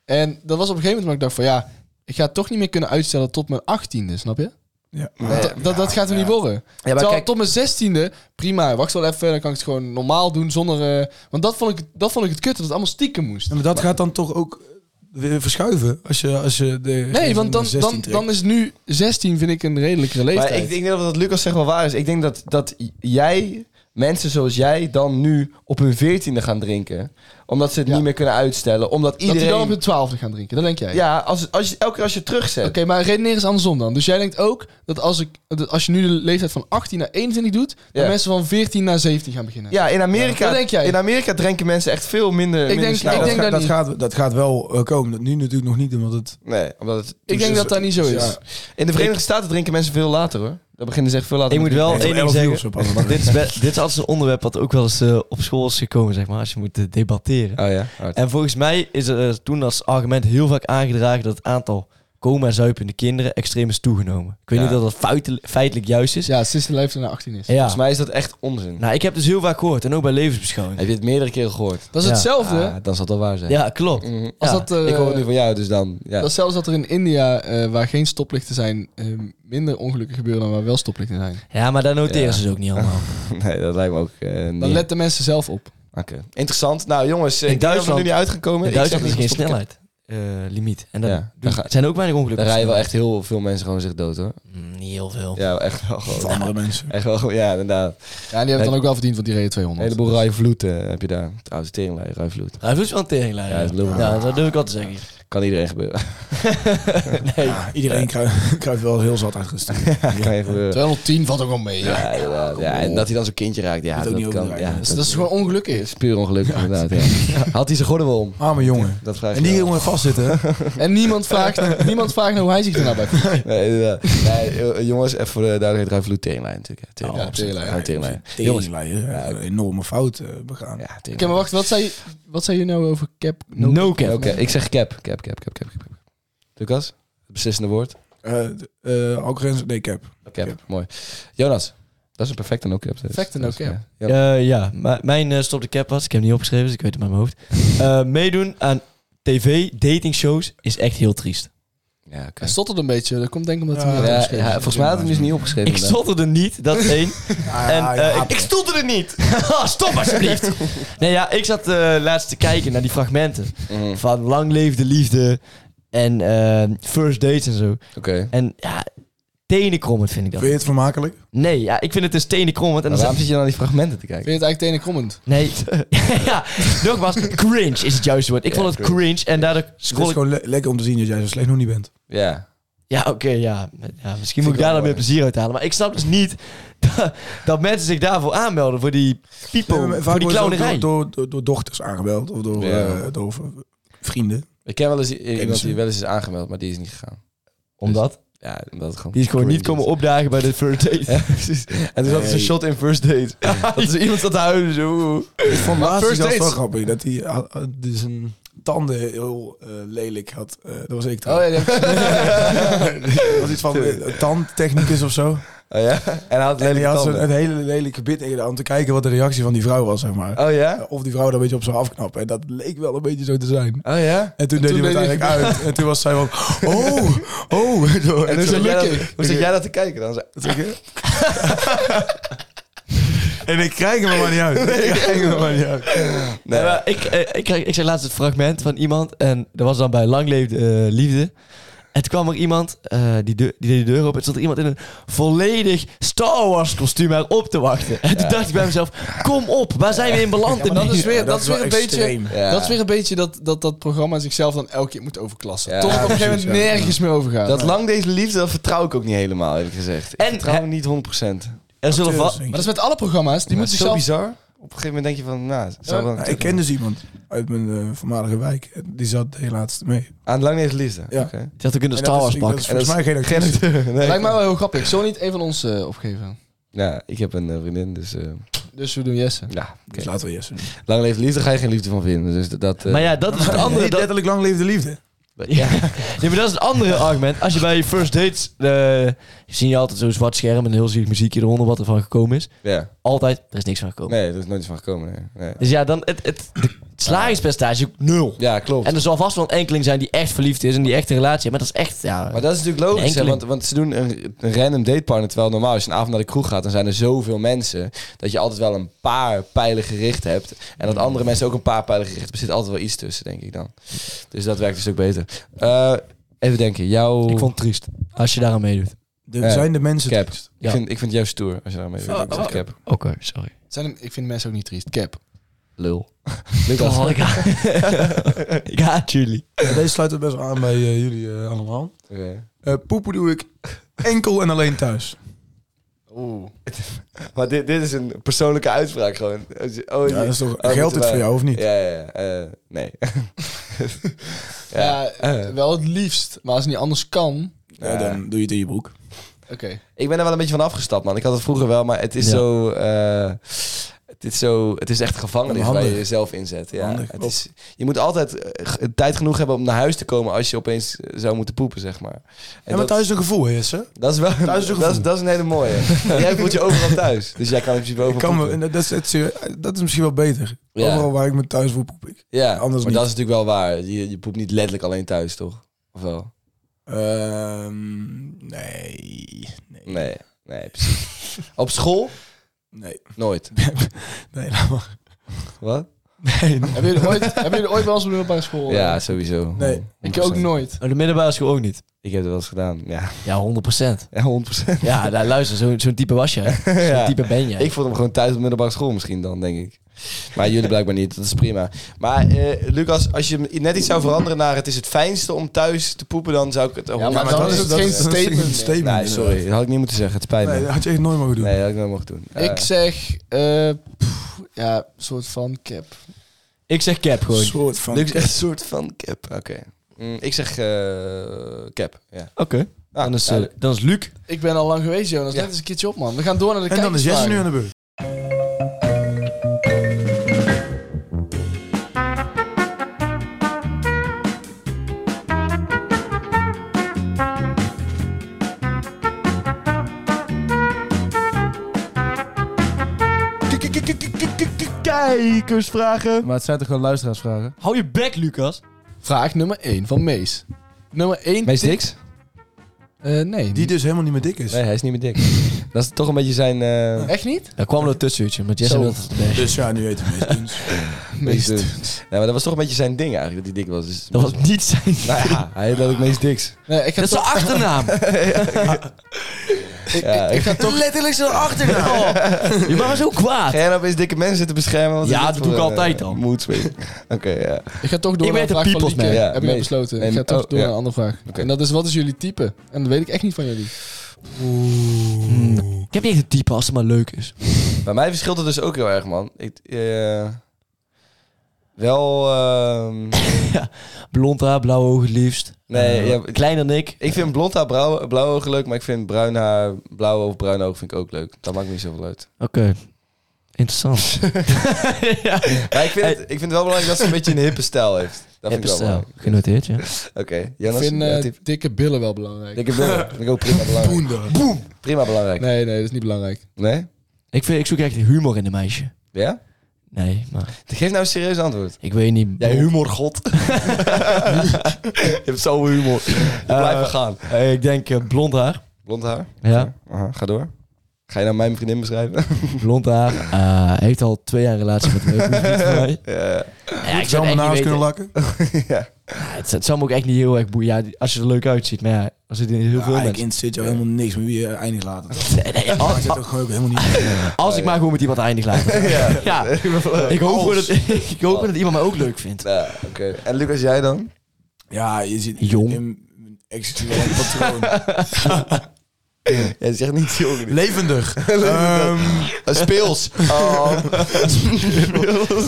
Speaker 5: En dat was op een gegeven moment waar ik dacht van... Ja, ik ga het toch niet meer kunnen uitstellen tot mijn 18e, snap je?
Speaker 3: Ja.
Speaker 2: Nee,
Speaker 5: dat, dat, dat gaat er niet worden.
Speaker 2: Ja, maar
Speaker 5: Terwijl
Speaker 2: kijk,
Speaker 5: tot mijn zestiende, prima, wacht wel even, dan kan ik het gewoon normaal doen zonder... eh, want dat vond, ik, dat vond ik het kut, dat het allemaal stiekem moest.
Speaker 3: Ja, maar dat gaat dan toch ook weer verschuiven als je, als je de
Speaker 5: Nee, want dan,
Speaker 3: 16
Speaker 5: dan,
Speaker 3: trekt.
Speaker 5: dan is nu 16, vind ik, een redelijkere leeftijd.
Speaker 2: maar ik denk dat wat Lucas zegt wel waar is. Ik denk dat, dat jij, mensen zoals jij, dan nu op hun veertiende gaan drinken. Omdat ze het
Speaker 5: Ja.
Speaker 2: niet meer kunnen uitstellen. Omdat
Speaker 5: dat die
Speaker 2: iedereen...
Speaker 5: dan op de twaalfde gaan drinken, dat denk jij.
Speaker 2: Ja, als, als je, elke keer als je het terugzet.
Speaker 5: Oké, maar redeneer eens andersom dan. Dus jij denkt ook dat als, ik, dat als je nu de leeftijd van 18 naar 21 doet, dat
Speaker 2: Ja.
Speaker 5: mensen van 14 naar 17 gaan beginnen.
Speaker 2: Ja, in Amerika,
Speaker 5: Wat denk jij?
Speaker 2: in Amerika drinken mensen echt veel minder, minder
Speaker 5: denk-
Speaker 2: snel.
Speaker 5: ik
Speaker 3: dat,
Speaker 5: denk
Speaker 3: ga-
Speaker 5: dat
Speaker 3: dat,
Speaker 5: niet.
Speaker 3: gaat, dat gaat wel eh, komen. Dat Nu natuurlijk nog niet, omdat het...
Speaker 2: Nee, omdat het... dus
Speaker 5: ik denk dat dat niet zo is.
Speaker 3: Dus Ja.
Speaker 2: In de Verenigde Staten drinken mensen veel later hoor. Dan beginnen ze echt veel later.
Speaker 4: Ik moet
Speaker 2: met
Speaker 4: wel
Speaker 2: drinken.
Speaker 4: één ding
Speaker 3: elf uur
Speaker 4: zeggen.
Speaker 3: of zo
Speaker 4: [LAUGHS]
Speaker 3: pas.
Speaker 4: dit, is wel- dit is altijd een onderwerp wat ook wel eens eh, op school is gekomen, zeg maar, als je moet eh, debatteren.
Speaker 2: Oh ja, hard.
Speaker 4: En volgens mij is er eh, toen als argument heel vaak aangedragen dat het aantal coma en zuipende kinderen extreem is toegenomen. Ik weet
Speaker 2: Ja.
Speaker 4: niet of dat feitelijk, feitelijk juist is.
Speaker 5: Ja, sinds de leeftijd naar 18 is.
Speaker 4: Ja.
Speaker 2: Volgens mij is dat echt onzin.
Speaker 4: Nou, ik heb dus heel vaak gehoord, en ook bij levensbeschouwing.
Speaker 2: Heb je het meerdere keren gehoord?
Speaker 5: Dat is
Speaker 4: Ja.
Speaker 5: hetzelfde
Speaker 2: Ah, dan zal dat waar zijn.
Speaker 4: Ja, klopt.
Speaker 2: Mhm.
Speaker 5: als
Speaker 4: Ja,
Speaker 5: dat... eh,
Speaker 2: ik hoor het nu van jou, dus dan... Ja.
Speaker 5: Dat is zelfs dat er in India, eh, waar geen stoplichten zijn, eh, minder ongelukken gebeuren dan waar wel stoplichten zijn.
Speaker 4: Ja, maar daar noteren
Speaker 2: Ja.
Speaker 4: ze het ook niet allemaal.
Speaker 2: [LAUGHS] Nee, dat lijkt me ook eh, niet.
Speaker 5: Dan letten mensen zelf op.
Speaker 2: Oké. Interessant. Nou jongens, eh,
Speaker 4: In
Speaker 2: ik denk dat we
Speaker 4: Duitsland-
Speaker 2: er nu niet uitgekomen.
Speaker 4: In
Speaker 2: Ik zeg
Speaker 4: Duitsland is
Speaker 2: niet
Speaker 4: geen
Speaker 2: gestopt.
Speaker 4: snelheid. eh, limiet. En dan
Speaker 2: Ja,
Speaker 4: doen-
Speaker 2: daar ga-
Speaker 4: zijn er ook weinig ongelukken.
Speaker 2: Daar rijden wel
Speaker 4: snel.
Speaker 2: echt heel veel mensen gewoon zich dood hoor.
Speaker 4: Mm, niet heel veel.
Speaker 2: Ja, echt wel gewoon.
Speaker 3: Van andere mensen.
Speaker 2: Echt wel gewoon, ja inderdaad.
Speaker 5: Ja, en die hebben het dan ook wel verdiend, want die reden
Speaker 2: Een
Speaker 5: 200.
Speaker 2: heleboel rijvloeten heb je daar. Trouwens, teringlijn, rijvloed.
Speaker 4: Hij voelt wel een teringlijn.
Speaker 2: Ja, dat
Speaker 4: Ja,
Speaker 2: bedoel ik.
Speaker 4: ja, dat durf ik wel te zeggen.
Speaker 2: Kan iedereen gebeuren.
Speaker 3: Ja, iedereen krijgt, krijgt wel heel zat uitgestuurd.
Speaker 2: kan je gebeuren.
Speaker 5: 210 valt ook wel mee. Ja.
Speaker 2: Ja, inderdaad. Ja, en dat hij dan zo'n kindje raakt, ja,
Speaker 3: Moet
Speaker 2: dat,
Speaker 3: ook niet
Speaker 2: kan.
Speaker 3: overdrijven.
Speaker 2: Ja,
Speaker 3: Dus
Speaker 5: dat is gewoon ongeluk
Speaker 2: is puur ongeluk, inderdaad. Ja. [LAUGHS] Had hij zijn gordel wel om?
Speaker 3: Arme jongen.
Speaker 2: Dat vraag
Speaker 3: En
Speaker 2: ik
Speaker 3: die
Speaker 2: me
Speaker 3: jongen vastzitten. hè?
Speaker 5: En niemand
Speaker 2: [LAUGHS]
Speaker 5: vraagt, niemand vraagt naar hoe hij zich daarna bij voelt.
Speaker 2: af. Nee, inderdaad. nee, eh, jongens, even voor de duidelijkheid, rijvloed teringlijn natuurlijk. hè. Teringlijn.
Speaker 5: Ja, teringlijn.
Speaker 2: Ja, teringlijn. Jongens,
Speaker 3: Teringleier. Ja, een enorme fout eh, begaan.
Speaker 2: ja, teringlijn.
Speaker 5: Oké, maar wacht, wat zei, wat zei je nou over cap?
Speaker 4: No, cap.
Speaker 2: Oké, ik zeg cap. Cap, cap, cap, cap. cap. Lucas, het beslissende woord.
Speaker 3: Eh eh, Alcaraz- nee, cap.
Speaker 2: Cap, mooi. Jonas, dat is een perfecte no-cap. dus.
Speaker 5: Perfecte no-cap.
Speaker 2: Ja.
Speaker 4: Eh, ja, maar mijn eh, stop de cap was. Ik heb hem niet opgeschreven, dus ik weet het maar in
Speaker 2: [LAUGHS]
Speaker 4: mijn hoofd. Eh, meedoen aan tv, datingshows is echt heel triest.
Speaker 2: Ja, oké.
Speaker 5: Hij stotterde een beetje, dat komt denk ik omdat hij
Speaker 3: Ja,
Speaker 5: niet had
Speaker 2: Ja,
Speaker 5: opgeschreven.
Speaker 2: ja, volgens mij had hij hem dus niet opgeschreven.
Speaker 4: Ik stotterde niet, dat is
Speaker 2: [LAUGHS]
Speaker 4: één. En
Speaker 3: Ah,
Speaker 4: eh,
Speaker 3: ja,
Speaker 4: ik, ik stotterde niet. [LAUGHS] Ah, Stop
Speaker 2: [LAUGHS]
Speaker 4: alsjeblieft. Nee ja, ik zat eh, laatst te kijken naar die fragmenten.
Speaker 2: Mhm, Oké.
Speaker 4: Van lang leefde liefde en eh, first dates en zo. En ja, tenenkrommend vind ik
Speaker 3: Vind je
Speaker 4: dat.
Speaker 3: het vermakelijk?
Speaker 4: Nee, ja, ik vind het dus tenenkrommend. En
Speaker 2: Maar
Speaker 4: dan
Speaker 2: waarom zit je dan naar die fragmenten te
Speaker 5: Vind
Speaker 2: kijken?
Speaker 5: je het eigenlijk tenenkrommend?
Speaker 4: Nee, [LAUGHS] ja, nogmaals, cringe is het juiste woord. Ik
Speaker 2: Ja,
Speaker 4: vond het
Speaker 2: cringe.
Speaker 4: cringe, en daardoor
Speaker 3: Het is
Speaker 4: scroll ik...
Speaker 3: gewoon le- lekker om te zien dat jij zo slecht nog niet bent.
Speaker 2: Ja.
Speaker 4: Ja, oké, ja. ja. Misschien moet
Speaker 2: ik
Speaker 4: ik daar
Speaker 2: wel
Speaker 4: dan meer
Speaker 2: mooi.
Speaker 4: plezier uit halen. Maar ik snap dus niet [LAUGHS] dat, dat mensen zich daarvoor aanmelden. Voor die people,
Speaker 3: Nee, maar
Speaker 4: voor die
Speaker 3: wordt het ook
Speaker 4: clownerij.
Speaker 3: Door, door, door dochters aangebeld of door,
Speaker 2: Ja.
Speaker 3: eh, door v- vrienden.
Speaker 2: Ik ken wel eens iemand
Speaker 3: Kennissen.
Speaker 2: die wel eens is aangemeld, maar die is niet gegaan.
Speaker 4: Omdat?
Speaker 2: Ja, omdat het gewoon...
Speaker 4: Die is gewoon niet
Speaker 2: cringe
Speaker 4: komen opdagen bij de first
Speaker 2: [LAUGHS]
Speaker 4: date.
Speaker 2: Ja, precies. En toen had ze een
Speaker 3: Nee.
Speaker 2: shot in first date.
Speaker 4: [LAUGHS]
Speaker 2: Dat is iemand zat te huilen zo.
Speaker 3: Ik vond laatst
Speaker 2: first
Speaker 3: iets zelfs wel
Speaker 2: dates.
Speaker 3: grappig. Dat hij ah, ah, die zijn tanden heel eh, lelijk had. Eh, dat was ik
Speaker 5: Oh ja,
Speaker 3: trouwens.
Speaker 5: die heb ik gezien.
Speaker 3: [LAUGHS] Dat was iets van eh, tandtechnicus of zo.
Speaker 2: Oh ja? En hij had
Speaker 3: En die
Speaker 2: lelijke
Speaker 3: had zo'n-
Speaker 2: tanden.
Speaker 3: een hele lelijke gebit tegen de hand te kijken wat de reactie van die vrouw was, zeg maar.
Speaker 2: Oh ja?
Speaker 3: Eh, Of die vrouw daar een beetje op zou afknappen. En dat leek wel een beetje zo te zijn.
Speaker 2: Oh ja?
Speaker 3: En toen deed
Speaker 5: toen
Speaker 3: hij het
Speaker 5: deed
Speaker 3: eigenlijk uit. En toen was zij van, [LAUGHS] oh, oh. [LAUGHS] Zo,
Speaker 2: En
Speaker 3: en
Speaker 2: hoe
Speaker 3: zo-
Speaker 2: zat jij
Speaker 5: lucky.
Speaker 2: dat- hoe zat jij dat te kijken dan? Zo-
Speaker 3: [LAUGHS] En ik krijg hem er maar niet [LAUGHS] uit. Ik krijg hem er maar niet uit.
Speaker 4: Nee, maar ik, eh, ik, ik, ik zei laatst het fragment van iemand. En dat was dan bij Lang Leefde eh, Liefde. En toen kwam er iemand, eh, die, deur, die deed de deur open. En stond er iemand in een volledig Star Wars kostuum haar op te wachten. En toen dacht ik bij mezelf, kom op, waar zijn we in beland? in
Speaker 5: maar dat
Speaker 4: die-
Speaker 5: is weer, dat
Speaker 3: dat
Speaker 5: is
Speaker 3: is
Speaker 5: weer
Speaker 3: wel
Speaker 5: een beetje...
Speaker 3: extreem.
Speaker 2: Ja.
Speaker 5: Dat is weer een beetje dat, dat dat programma zichzelf dan elke keer moet overklassen.
Speaker 2: Ja,
Speaker 5: Tot het op een gegeven
Speaker 3: precies,
Speaker 5: moment
Speaker 3: ja.
Speaker 5: nergens meer overgaat.
Speaker 2: Dat lang deze liefde, dat vertrouw ik ook niet helemaal, eerlijk gezegd. Ik
Speaker 4: En-
Speaker 2: vertrouw hem niet 100%.
Speaker 4: Er zullen va-
Speaker 5: Maar dat is met alle programma's. Die
Speaker 2: Maar
Speaker 5: moeten
Speaker 2: het is zo
Speaker 5: zichzelf...
Speaker 2: bizar. Op een gegeven moment denk je van, nou, het zou
Speaker 5: Ja,
Speaker 2: wel een
Speaker 3: Nou,
Speaker 2: keer
Speaker 3: ik ken dus iemand uit mijn eh, voormalige wijk. En Die zat heel laatst mee.
Speaker 2: doen. Aan Ah, lang deze liefde.
Speaker 3: Ja.
Speaker 2: Oké.
Speaker 3: [LAUGHS]
Speaker 4: Die had ook in de
Speaker 3: En
Speaker 4: Star
Speaker 3: dat
Speaker 4: Wars
Speaker 3: is-
Speaker 4: pak.
Speaker 3: dat is volgens mij geen
Speaker 2: Geen
Speaker 3: actrice.
Speaker 2: acteur, [LAUGHS] nee.
Speaker 5: Lijkt mij wel heel grappig. Zo niet een van ons eh, opgeven.
Speaker 2: Ja, ik heb een eh, vriendin, dus eh,
Speaker 5: Dus we doen Jesse.
Speaker 2: ja.
Speaker 3: Dus laten we Jesse.
Speaker 2: Lang leefde liefde ga je geen liefde van vinden. Dus dat... eh,
Speaker 4: Maar ja, dat is
Speaker 3: [LAUGHS]
Speaker 4: het andere.
Speaker 3: Niet
Speaker 4: Dat,
Speaker 3: letterlijk lang leefde liefde.
Speaker 4: ja. Nee, maar dat is het andere argument. Als je bij first dates. eh zie je altijd zo'n zwart scherm en heel zielig muziekje eronder wat er van gekomen is.
Speaker 2: ja.
Speaker 4: Altijd, er is niks van gekomen.
Speaker 2: Nee, er is nooit iets van gekomen. Nee. Nee.
Speaker 4: Dus ja, dan. Het, het, de- slagingspercentage ook nul.
Speaker 2: Ja, klopt.
Speaker 4: En dus- er zal vast wel een enkeling zijn die echt verliefd is en die echt een relatie heeft. Maar dat is echt, ja...
Speaker 2: Maar dat is natuurlijk
Speaker 4: Een
Speaker 2: logisch, hè,
Speaker 4: enkeling.
Speaker 2: want, want ze doen een, een random datepartner. Terwijl normaal, als je een avond naar de kroeg gaat, dan zijn er zoveel mensen. Dat je altijd wel een paar pijlen gericht hebt. En dat andere mensen ook een paar pijlen gericht hebben. Er zit altijd wel iets tussen, denk ik dan. Dus dat werkt een stuk beter. Eh, even denken, jouw...
Speaker 4: Ik vond het triest. Als je daar aan meedoet.
Speaker 3: De,
Speaker 2: Ja.
Speaker 3: zijn de mensen...
Speaker 2: Cap.
Speaker 3: triest?
Speaker 2: Ik vind, ik vind jou stoer, als je daarmee
Speaker 3: Oh,
Speaker 2: meedoet.
Speaker 3: oh.
Speaker 2: Cap.
Speaker 4: Oké, sorry.
Speaker 5: Zijn hem- ik vind mensen ook niet triest. Cap.
Speaker 2: Lul. Lucas.
Speaker 4: Oh, ik, haat, [LAUGHS] ik haat jullie.
Speaker 3: Ja, Deze sluit het best wel aan bij eh, jullie eh, allemaal.
Speaker 2: Oké.
Speaker 3: Eh, poepen doe ik enkel en alleen thuis.
Speaker 5: Oeh.
Speaker 2: Maar dit, dit is een persoonlijke uitspraak gewoon. Als je- Oh,
Speaker 3: Ja, dat is toch,
Speaker 2: oh,
Speaker 3: geldt
Speaker 2: moeten
Speaker 3: het
Speaker 2: wij-
Speaker 3: voor jou of niet?
Speaker 2: Ja, ja, ja. Eh, nee. [LAUGHS]
Speaker 5: Ja,
Speaker 2: eh.
Speaker 5: wel het liefst. Maar als het niet anders kan...
Speaker 3: Ja, dan doe je het in je broek.
Speaker 5: Oké.
Speaker 2: Ik ben er wel een beetje van afgestapt, man. Ik had het vroeger wel, maar het is
Speaker 4: Ja.
Speaker 2: zo... eh, het is, zo, het is echt gevangenis
Speaker 3: Handig.
Speaker 2: waar je jezelf in zet. Ja.
Speaker 3: Handig,
Speaker 2: het
Speaker 3: klopt.
Speaker 2: is, je moet altijd eh, g- tijd genoeg hebben om naar huis te komen als je opeens eh, zou moeten poepen, zeg maar. En
Speaker 3: Ja, maar
Speaker 2: dat,
Speaker 3: thuis is een gevoel, is hè?
Speaker 2: dat is wel
Speaker 3: thuis is
Speaker 2: [LAUGHS]
Speaker 3: een
Speaker 2: dat, is,
Speaker 3: gevoel.
Speaker 2: dat is een hele
Speaker 3: [LAUGHS]
Speaker 2: mooie. En jij voelt je overal thuis. Dus jij kan in principe
Speaker 3: Ik
Speaker 2: overal
Speaker 3: kan me,
Speaker 2: poepen.
Speaker 3: en dat, is, het is- dat is misschien wel beter.
Speaker 2: Ja.
Speaker 3: Overal waar ik me thuis voel, poep ik.
Speaker 2: Ja,
Speaker 3: anders
Speaker 2: maar
Speaker 3: niet.
Speaker 2: dat is natuurlijk wel waar. Je, je poept niet letterlijk alleen thuis, toch? Of wel?
Speaker 3: Ehm, nee. Nee.
Speaker 2: Nee, nee, precies. Op school?
Speaker 3: Nee. [LAUGHS]
Speaker 2: Nooit.
Speaker 3: Nee, laat maar.
Speaker 2: Wat?
Speaker 3: Nee.
Speaker 5: Hebben jullie ooit, hebben jullie ooit bij ons op de middelbare school?
Speaker 2: Ja,
Speaker 5: eh,
Speaker 2: sowieso.
Speaker 3: Nee.
Speaker 2: 100%.
Speaker 5: Ik ook nooit.
Speaker 4: Oh, de middelbare school ook niet.
Speaker 2: Ik heb het wel eens gedaan, ja. [LAUGHS]
Speaker 4: Ja, 100%.
Speaker 2: Ja, 100%.
Speaker 4: Ja, nou, luister, zo- zo'n type was [LAUGHS] je. Zo'n
Speaker 2: Ja.
Speaker 4: type ben je.
Speaker 2: Ik vond hem gewoon thuis op de middelbare school misschien dan, denk ik. Maar jullie blijkbaar niet, dat is prima. Maar eh, Lucas, als je hem net iets zou veranderen naar het is het fijnste om thuis te poepen, dan zou ik het...
Speaker 5: maar
Speaker 2: Ja,
Speaker 5: dan is het geen statement meer.
Speaker 2: Nee, sorry, dat had ik niet moeten zeggen, het spijt me.
Speaker 3: Nee,
Speaker 2: Nee,
Speaker 3: dat had je echt nooit mogen doen.
Speaker 2: dat had ik nooit mogen doen.
Speaker 5: Ik zeg... eh, pff, ja, soort van cap.
Speaker 4: Ik zeg cap
Speaker 3: Een
Speaker 4: gewoon. Oké.
Speaker 3: soort van...
Speaker 2: Lucas, een soort van cap. Oké. Mm, ik zeg eh, cap, ja. Ah,
Speaker 4: dan, is, eh,
Speaker 2: duidelijk.
Speaker 4: dan is Luc.
Speaker 5: Ik ben al lang geweest, Jonas. Let eens een keertje op, man. We gaan door naar de
Speaker 3: En dan is Jesse
Speaker 5: kijkersvragen.
Speaker 3: nu aan de beurt.
Speaker 4: Kijkersvragen.
Speaker 6: Maar het zijn toch gewoon luisteraarsvragen?
Speaker 4: Hou je bek, Lucas.
Speaker 5: Vraag nummer 1 van Mees. Nummer 1...
Speaker 2: Mees Dix?
Speaker 5: nee.
Speaker 3: Die dus helemaal niet meer dik is.
Speaker 2: Nee, hij is niet meer dik. dat is toch een beetje zijn... eh,
Speaker 5: Echt niet?
Speaker 4: Er kwam er een tussenuurtje, maar Jesse
Speaker 5: Zo.
Speaker 4: wilde het best.
Speaker 3: Dus ja, nu heet het meest.
Speaker 2: Mees Nee, maar dat was toch een beetje zijn ding eigenlijk, dat hij dik was. Dus...
Speaker 4: Dat was niet zijn...
Speaker 2: [LAUGHS] Nou ja, hij heet ook Mees Dix.
Speaker 5: Nee, ik ga
Speaker 4: Dat is zijn
Speaker 5: toch...
Speaker 4: achternaam.
Speaker 5: Ik,
Speaker 2: Ja,
Speaker 5: ik, ik ga toch...
Speaker 4: [LAUGHS] Letterlijk zijn achternaam. [LAUGHS] Je was zo kwaad.
Speaker 2: Ga jij nou opeens dikke mensen zitten beschermen? Wat is
Speaker 4: Ja,
Speaker 2: dit
Speaker 4: dat
Speaker 2: voor
Speaker 4: doe ik
Speaker 2: een,
Speaker 4: altijd
Speaker 2: eh,
Speaker 4: al.
Speaker 2: moedswing? Oké, ja.
Speaker 5: Ik ga toch door
Speaker 4: Ik
Speaker 5: naar
Speaker 4: weet
Speaker 5: de
Speaker 4: de
Speaker 5: vraag van
Speaker 4: people's
Speaker 5: Lieke.
Speaker 2: man. Ja,
Speaker 5: Heb ik al
Speaker 2: Mees.
Speaker 5: besloten.
Speaker 2: En-
Speaker 5: ik ga toch
Speaker 2: oh,
Speaker 5: door
Speaker 2: ja.
Speaker 5: naar een andere vraag.
Speaker 2: Oké.
Speaker 5: En dat is, wat is jullie type? En dat weet ik echt niet van jullie.
Speaker 4: Ik heb niet echt een type als het maar leuk is.
Speaker 2: Bij mij verschilt het dus ook heel erg, man. Ik, eh, wel... ehm,
Speaker 4: Blond haar, blauwe ogen het liefst.
Speaker 2: Nee,
Speaker 4: Eh,
Speaker 2: ja,
Speaker 4: Kleiner dan ik.
Speaker 2: ik vind blond haar blauw, blauw ogen leuk, maar ik vind bruin haar, blauwe of bruine ogen vind ik ook leuk. Dat maakt niet zoveel uit.
Speaker 4: Oké. [LAUGHS] Interessant. ja.
Speaker 2: Maar ik vind, het, ik vind het wel belangrijk dat ze een beetje een hippe stijl heeft. Dat vind ik wel
Speaker 4: Besteld.
Speaker 2: belangrijk.
Speaker 4: Genoteerd, ja.
Speaker 2: Oké, Jonas?
Speaker 5: ik vind eh,
Speaker 2: ja, typ-
Speaker 5: dikke billen wel belangrijk.
Speaker 2: Dikke billen. Vind ik ook
Speaker 4: [LAUGHS]
Speaker 2: prima belangrijk.
Speaker 3: Boender.
Speaker 2: Prima belangrijk.
Speaker 5: Nee, nee, dat is niet belangrijk.
Speaker 2: Nee?
Speaker 4: Ik, vind, ik zoek echt humor in een meisje.
Speaker 2: Ja?
Speaker 4: Nee, maar
Speaker 2: Geef nou een serieus antwoord.
Speaker 4: ik weet niet.
Speaker 2: Jij humorgod. [LAUGHS] je hebt zo'n humor. Je blijft maar gaan.
Speaker 4: Eh, ik denk eh, blond haar.
Speaker 2: Blond haar?
Speaker 4: Ja,
Speaker 2: Aha, ga door. Ga je nou mijn vriendin [LAUGHS] beschrijven?
Speaker 4: [LAUGHS] blond haar. Eh, heeft al twee jaar een relatie met een leuke vriend van mij. [LAUGHS]
Speaker 2: Ja.
Speaker 4: Ja, ik
Speaker 3: Zou
Speaker 4: zou
Speaker 3: mijn
Speaker 4: hem
Speaker 3: naam
Speaker 4: echt
Speaker 3: eens
Speaker 4: niet
Speaker 3: kunnen
Speaker 4: weten.
Speaker 3: lakken?
Speaker 2: Eh, ja.
Speaker 4: het, het zou me ook echt niet heel erg boeien. Ja, die- als je er leuk uitziet. Maar ja, als het in heel veel
Speaker 3: Ja, Ah, ik
Speaker 4: mensen... ah.
Speaker 3: interesseert jou helemaal niks, maar wie je eindigt later.
Speaker 4: Ah, [LAUGHS] Nee, nee, al-
Speaker 3: Dat zit ook gewoon ook helemaal niet
Speaker 4: als ik maar gewoon met iemand eindig laat.
Speaker 2: ja.
Speaker 4: [LAUGHS]
Speaker 2: Oh,
Speaker 4: Ja, ik hoop gewoon dat, [LAUGHS] ik hoop gewoon dat iemand mij ook leuk vindt.
Speaker 2: Nou, oké. En Lucas, jij dan?
Speaker 3: Ja, je zit
Speaker 4: Jong.
Speaker 3: in een existentieel patroon.
Speaker 2: Jij zegt niet jong.
Speaker 3: [LAUGHS] [LAUGHS] Levendig. Ehm,
Speaker 4: [LAUGHS]
Speaker 2: Speels. Oh.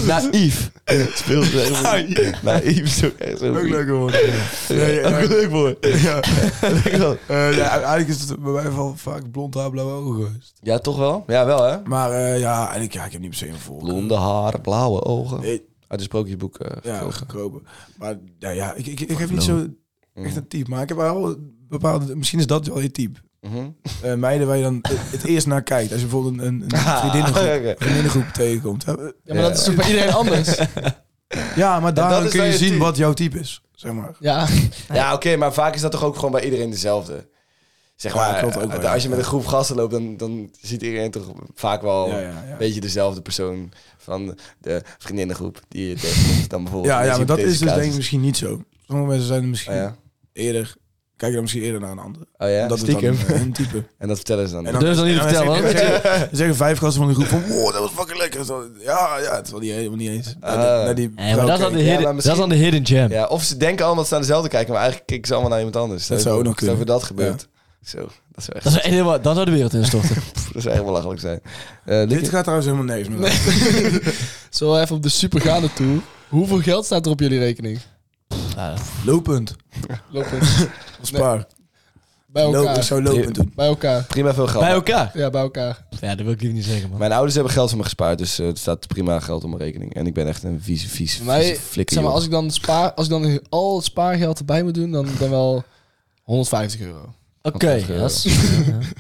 Speaker 4: Naïef.
Speaker 2: Speels. is echt- Naïef is ook echt zo.
Speaker 3: ook leuk hoor.
Speaker 2: Nee,
Speaker 3: Ja, ja.
Speaker 2: ook leuk woord.
Speaker 3: [LAUGHS] Ja.
Speaker 2: Leuk wel.
Speaker 3: Eh, ja, eigenlijk is het bij mij wel vaak blond haar, blauwe ogen geweest.
Speaker 2: Ja, toch wel? Ja, wel hè?
Speaker 3: Maar eh, ja, eigenlijk, ja, ik heb niet per se een voorkeur.
Speaker 2: Blonde haar, blauwe ogen.
Speaker 3: Nee,
Speaker 2: Uit een sprookjesboek. eh,
Speaker 3: ja,
Speaker 2: gekozen.
Speaker 3: gekropen. Maar ja, ja ik, ik, ik heb niet zo echt een type. Maar ik heb wel bepaalde... Misschien is dat wel je type.
Speaker 2: Mhm.
Speaker 3: Eh, meiden waar je dan het, het eerst naar kijkt. Als
Speaker 2: [LAUGHS]
Speaker 3: je bijvoorbeeld een, een, een vriendinnengroep,
Speaker 2: Ah, Oké.
Speaker 3: vriendinnengroep tegenkomt. Ja,
Speaker 2: [LAUGHS]
Speaker 5: Ja, maar dat is toch bij iedereen anders? [LAUGHS]
Speaker 3: Ja, maar daarom
Speaker 2: is
Speaker 3: kun
Speaker 2: dan
Speaker 3: je
Speaker 2: je
Speaker 3: zien
Speaker 2: type.
Speaker 3: wat jouw type is, zeg maar.
Speaker 5: Ja,
Speaker 2: Ja, oké, maar vaak is dat toch ook gewoon bij iedereen dezelfde. Zeg
Speaker 3: Ja,
Speaker 2: maar,
Speaker 3: klopt ook wel,
Speaker 2: eh, als je
Speaker 3: ja.
Speaker 2: met een groep gasten loopt, dan, dan ziet iedereen toch vaak wel
Speaker 3: Ja, ja, ja.
Speaker 2: een beetje dezelfde persoon van de vriendinnengroep die je
Speaker 3: [LAUGHS]
Speaker 2: tegenkomt dan bijvoorbeeld.
Speaker 3: Ja,
Speaker 2: in
Speaker 3: ja
Speaker 2: deze
Speaker 3: maar dat is
Speaker 2: hypothetische
Speaker 3: dus denk ik
Speaker 2: casus.
Speaker 3: misschien niet zo. Sommige mensen zijn er misschien
Speaker 2: Oh ja,
Speaker 3: eerder... Kijken dan misschien eerder naar een ander.
Speaker 2: oh, ja?
Speaker 3: dat
Speaker 4: stiekem.
Speaker 3: is dan eh, [LAUGHS] hun type.
Speaker 2: en dat vertellen ze dan.
Speaker 3: En
Speaker 4: Dat durf je dan niet te
Speaker 3: en dan
Speaker 4: vertellen,
Speaker 3: zeggen- dan
Speaker 4: hoor.
Speaker 3: zeggen- dan zeggen vijf gasten van de groep van... Wow, dat was fucking lekker. Zo, Ja, ja, het is wel niet, helemaal niet eens. Naar die-
Speaker 2: Ah.
Speaker 3: naar die
Speaker 4: Nee, maar dat, is
Speaker 3: vrouw
Speaker 4: dan de
Speaker 2: ja,
Speaker 4: hidden,
Speaker 2: maar
Speaker 4: dat is dan
Speaker 2: misschien-
Speaker 4: de hidden gem.
Speaker 2: Ja, of ze denken allemaal dat ze naar dezelfde kijken, maar eigenlijk kijken ze allemaal naar iemand anders. Stel
Speaker 3: Dat
Speaker 2: je
Speaker 3: zou
Speaker 2: voor-
Speaker 3: ook nog
Speaker 2: stel je
Speaker 3: kunnen.
Speaker 2: voor dat gebeurt. Zo, dat zou echt,
Speaker 4: Dat zou echt helemaal, dan zou de wereld
Speaker 2: [LAUGHS]
Speaker 4: instorten.
Speaker 2: pff, [LAUGHS] dat zou echt wel lachelijk zijn. Eh,
Speaker 3: kijken.
Speaker 2: Lieke?
Speaker 3: Dit gaat trouwens helemaal niks meer.
Speaker 5: zo even op de supergaande toe. Hoeveel geld staat er op jullie rekening?
Speaker 4: Ja,
Speaker 3: Looppunt.
Speaker 5: Lopend.
Speaker 3: Spaar.
Speaker 5: Bij
Speaker 3: Lopen, ik
Speaker 5: elkaar.
Speaker 3: zou lopen doen.
Speaker 5: Bij elkaar.
Speaker 2: Prima veel geld.
Speaker 4: bij elkaar.
Speaker 5: Ja, bij elkaar.
Speaker 4: Ja, dat wil ik liever niet zeggen, man.
Speaker 2: Mijn ouders hebben geld voor me gespaard, dus eh, het staat prima geld op mijn rekening. En ik ben echt een vieze, vieze,
Speaker 5: Bij mij,
Speaker 2: vieze flikker.
Speaker 5: zeg maar,
Speaker 2: joh.
Speaker 5: als ik dan, spaar, als ik dan al het spaargeld erbij moet doen, dan, dan wel 150 euro.
Speaker 4: Oké.
Speaker 2: Want dat, eh,
Speaker 4: ja, dat
Speaker 2: [LAUGHS]
Speaker 4: is-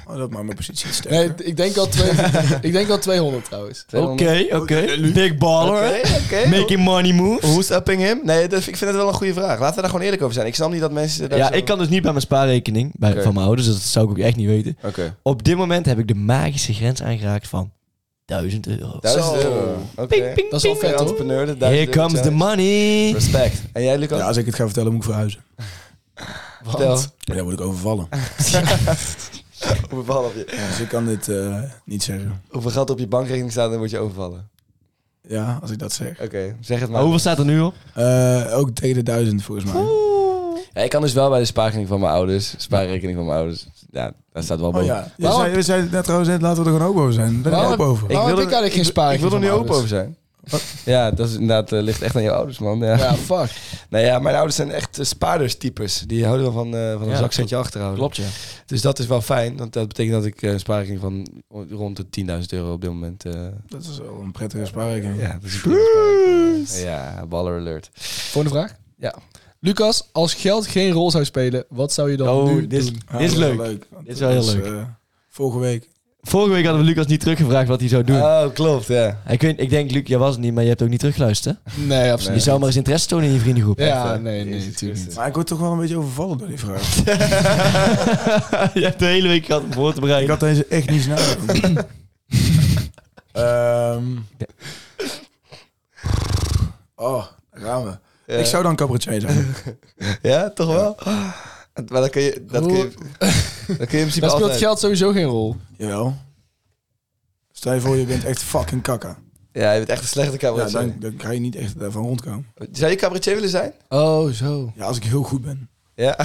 Speaker 3: Oh, dat maakt mijn positie iets sterker.
Speaker 5: Nee, ik denk al, twee,
Speaker 2: [LAUGHS]
Speaker 5: ik denk al 200 trouwens.
Speaker 4: Oké, oké. Big baller.
Speaker 2: Oké, oké.
Speaker 4: Making money moves.
Speaker 2: Who's upping him? Nee, dat, ik vind het wel een goede vraag. Laten we daar gewoon eerlijk over zijn. Ik snap niet dat mensen... daar
Speaker 4: Ja,
Speaker 2: zo-
Speaker 4: ik kan dus niet bij mijn spaarrekening bij,
Speaker 2: Oké.
Speaker 4: van mijn ouders. Dus dat zou ik ook echt niet weten.
Speaker 2: Oké.
Speaker 4: Op dit moment heb ik de magische grens aangeraakt van 1000 euro.
Speaker 2: Duizend
Speaker 5: Zo.
Speaker 2: euro. Oké.
Speaker 4: Ping, ping,
Speaker 5: Dat is wel
Speaker 4: ping.
Speaker 5: vet, hoor.
Speaker 2: Entrepreneur, de duizend
Speaker 4: Here
Speaker 2: euro
Speaker 4: comes the
Speaker 2: challenge.
Speaker 4: money.
Speaker 2: Respect. En jij, Lucas?
Speaker 3: Ja, als ik het ga vertellen, moet ik verhuizen.
Speaker 2: Vertel.
Speaker 3: Ja, dan word ik overvallen.
Speaker 2: Hoeveel, geld op je,
Speaker 3: Ja, dus ik kan dit eh, niet zeggen.
Speaker 2: hoeveel geld op je bankrekening staat, dan word je overvallen.
Speaker 3: Ja, als ik dat zeg.
Speaker 2: Oké, zeg het
Speaker 4: Maar
Speaker 2: maar.
Speaker 4: hoeveel staat er nu op?
Speaker 3: Eh, ook tegen de duizend, volgens mij.
Speaker 2: Ja, ik kan dus wel bij de spaarrekening van mijn ouders. Spaarrekening van mijn ouders. Ja, daar staat wel
Speaker 3: Oh
Speaker 2: boven.
Speaker 3: ja, je
Speaker 5: Waarom-
Speaker 3: zei, je zei net trouwens net, laten we er gewoon open over zijn. Ben ik
Speaker 5: Waarom-
Speaker 3: open over.
Speaker 5: Waarom heb ik eigenlijk geen
Speaker 2: Ik
Speaker 5: spaarrekening
Speaker 2: wil er nu
Speaker 5: van
Speaker 2: open over zijn. Ja, dat is inderdaad, eh, ligt echt aan jouw ouders, man. Ja.
Speaker 5: Ja, fuck.
Speaker 2: [LAUGHS] Nou ja, mijn ouders zijn echt eh, spaarderstypes. Die houden wel van, eh, van een
Speaker 4: Ja,
Speaker 2: zakcentje achterhouden.
Speaker 4: Klopt, ja.
Speaker 2: Dus dat is wel fijn, want dat betekent dat ik eh, een spaarrekening van rond de 10.000 euro op dit moment. eh
Speaker 3: Dat is wel een prettige spaarrekening.
Speaker 2: ja, dat is een prima spaarrekening. ja, baller alert.
Speaker 5: Volgende vraag.
Speaker 2: Ja.
Speaker 5: Lucas, als geld geen rol zou spelen, wat zou je dan
Speaker 4: Oh,
Speaker 5: nu
Speaker 4: dit is-
Speaker 5: doen?
Speaker 3: Ja,
Speaker 4: Dit is
Speaker 3: wel
Speaker 4: leuk.
Speaker 3: want
Speaker 4: Dit is wel heel
Speaker 3: dat
Speaker 4: leuk.
Speaker 3: eh, vorige week.
Speaker 4: Vorige week hadden we Lucas niet teruggevraagd wat hij zou doen.
Speaker 2: Oh, klopt, ja.
Speaker 4: ik, weet, ik denk, Luc, jij was het niet, maar je hebt ook niet teruggeluisterd. hè?
Speaker 5: Nee, absoluut.
Speaker 4: Je zou maar eens interesse tonen in je vriendengroep.
Speaker 5: Ja,
Speaker 2: Echt, hè?
Speaker 5: nee, nee,
Speaker 2: Jezus
Speaker 5: natuurlijk niet.
Speaker 3: Maar ik word toch wel een beetje overvallen door die vraag.
Speaker 4: [LAUGHS] je hebt de hele week gehad om voor te
Speaker 3: ik
Speaker 4: bereiden.
Speaker 3: had deze echt niet snel.
Speaker 4: [LAUGHS]
Speaker 3: Ehm oh, daar gaan we.
Speaker 2: Ja,
Speaker 3: Ik zou dan cabaretier zijn.
Speaker 2: ja toch wel? Maar dan kun je, dat kun je, dat kun je in principe
Speaker 5: Daar speelt
Speaker 2: altijd.
Speaker 5: geld sowieso geen rol.
Speaker 3: Jawel. Stel je voor, je bent echt fucking kakka.
Speaker 2: Ja, je bent echt een slechte
Speaker 3: Ja,
Speaker 2: cabaretier.
Speaker 3: dan, dan ga je niet echt eh, daarvan rondkomen.
Speaker 2: Zou je cabaretier willen zijn?
Speaker 5: Oh, zo.
Speaker 3: Ja, als ik heel goed ben.
Speaker 2: Ja,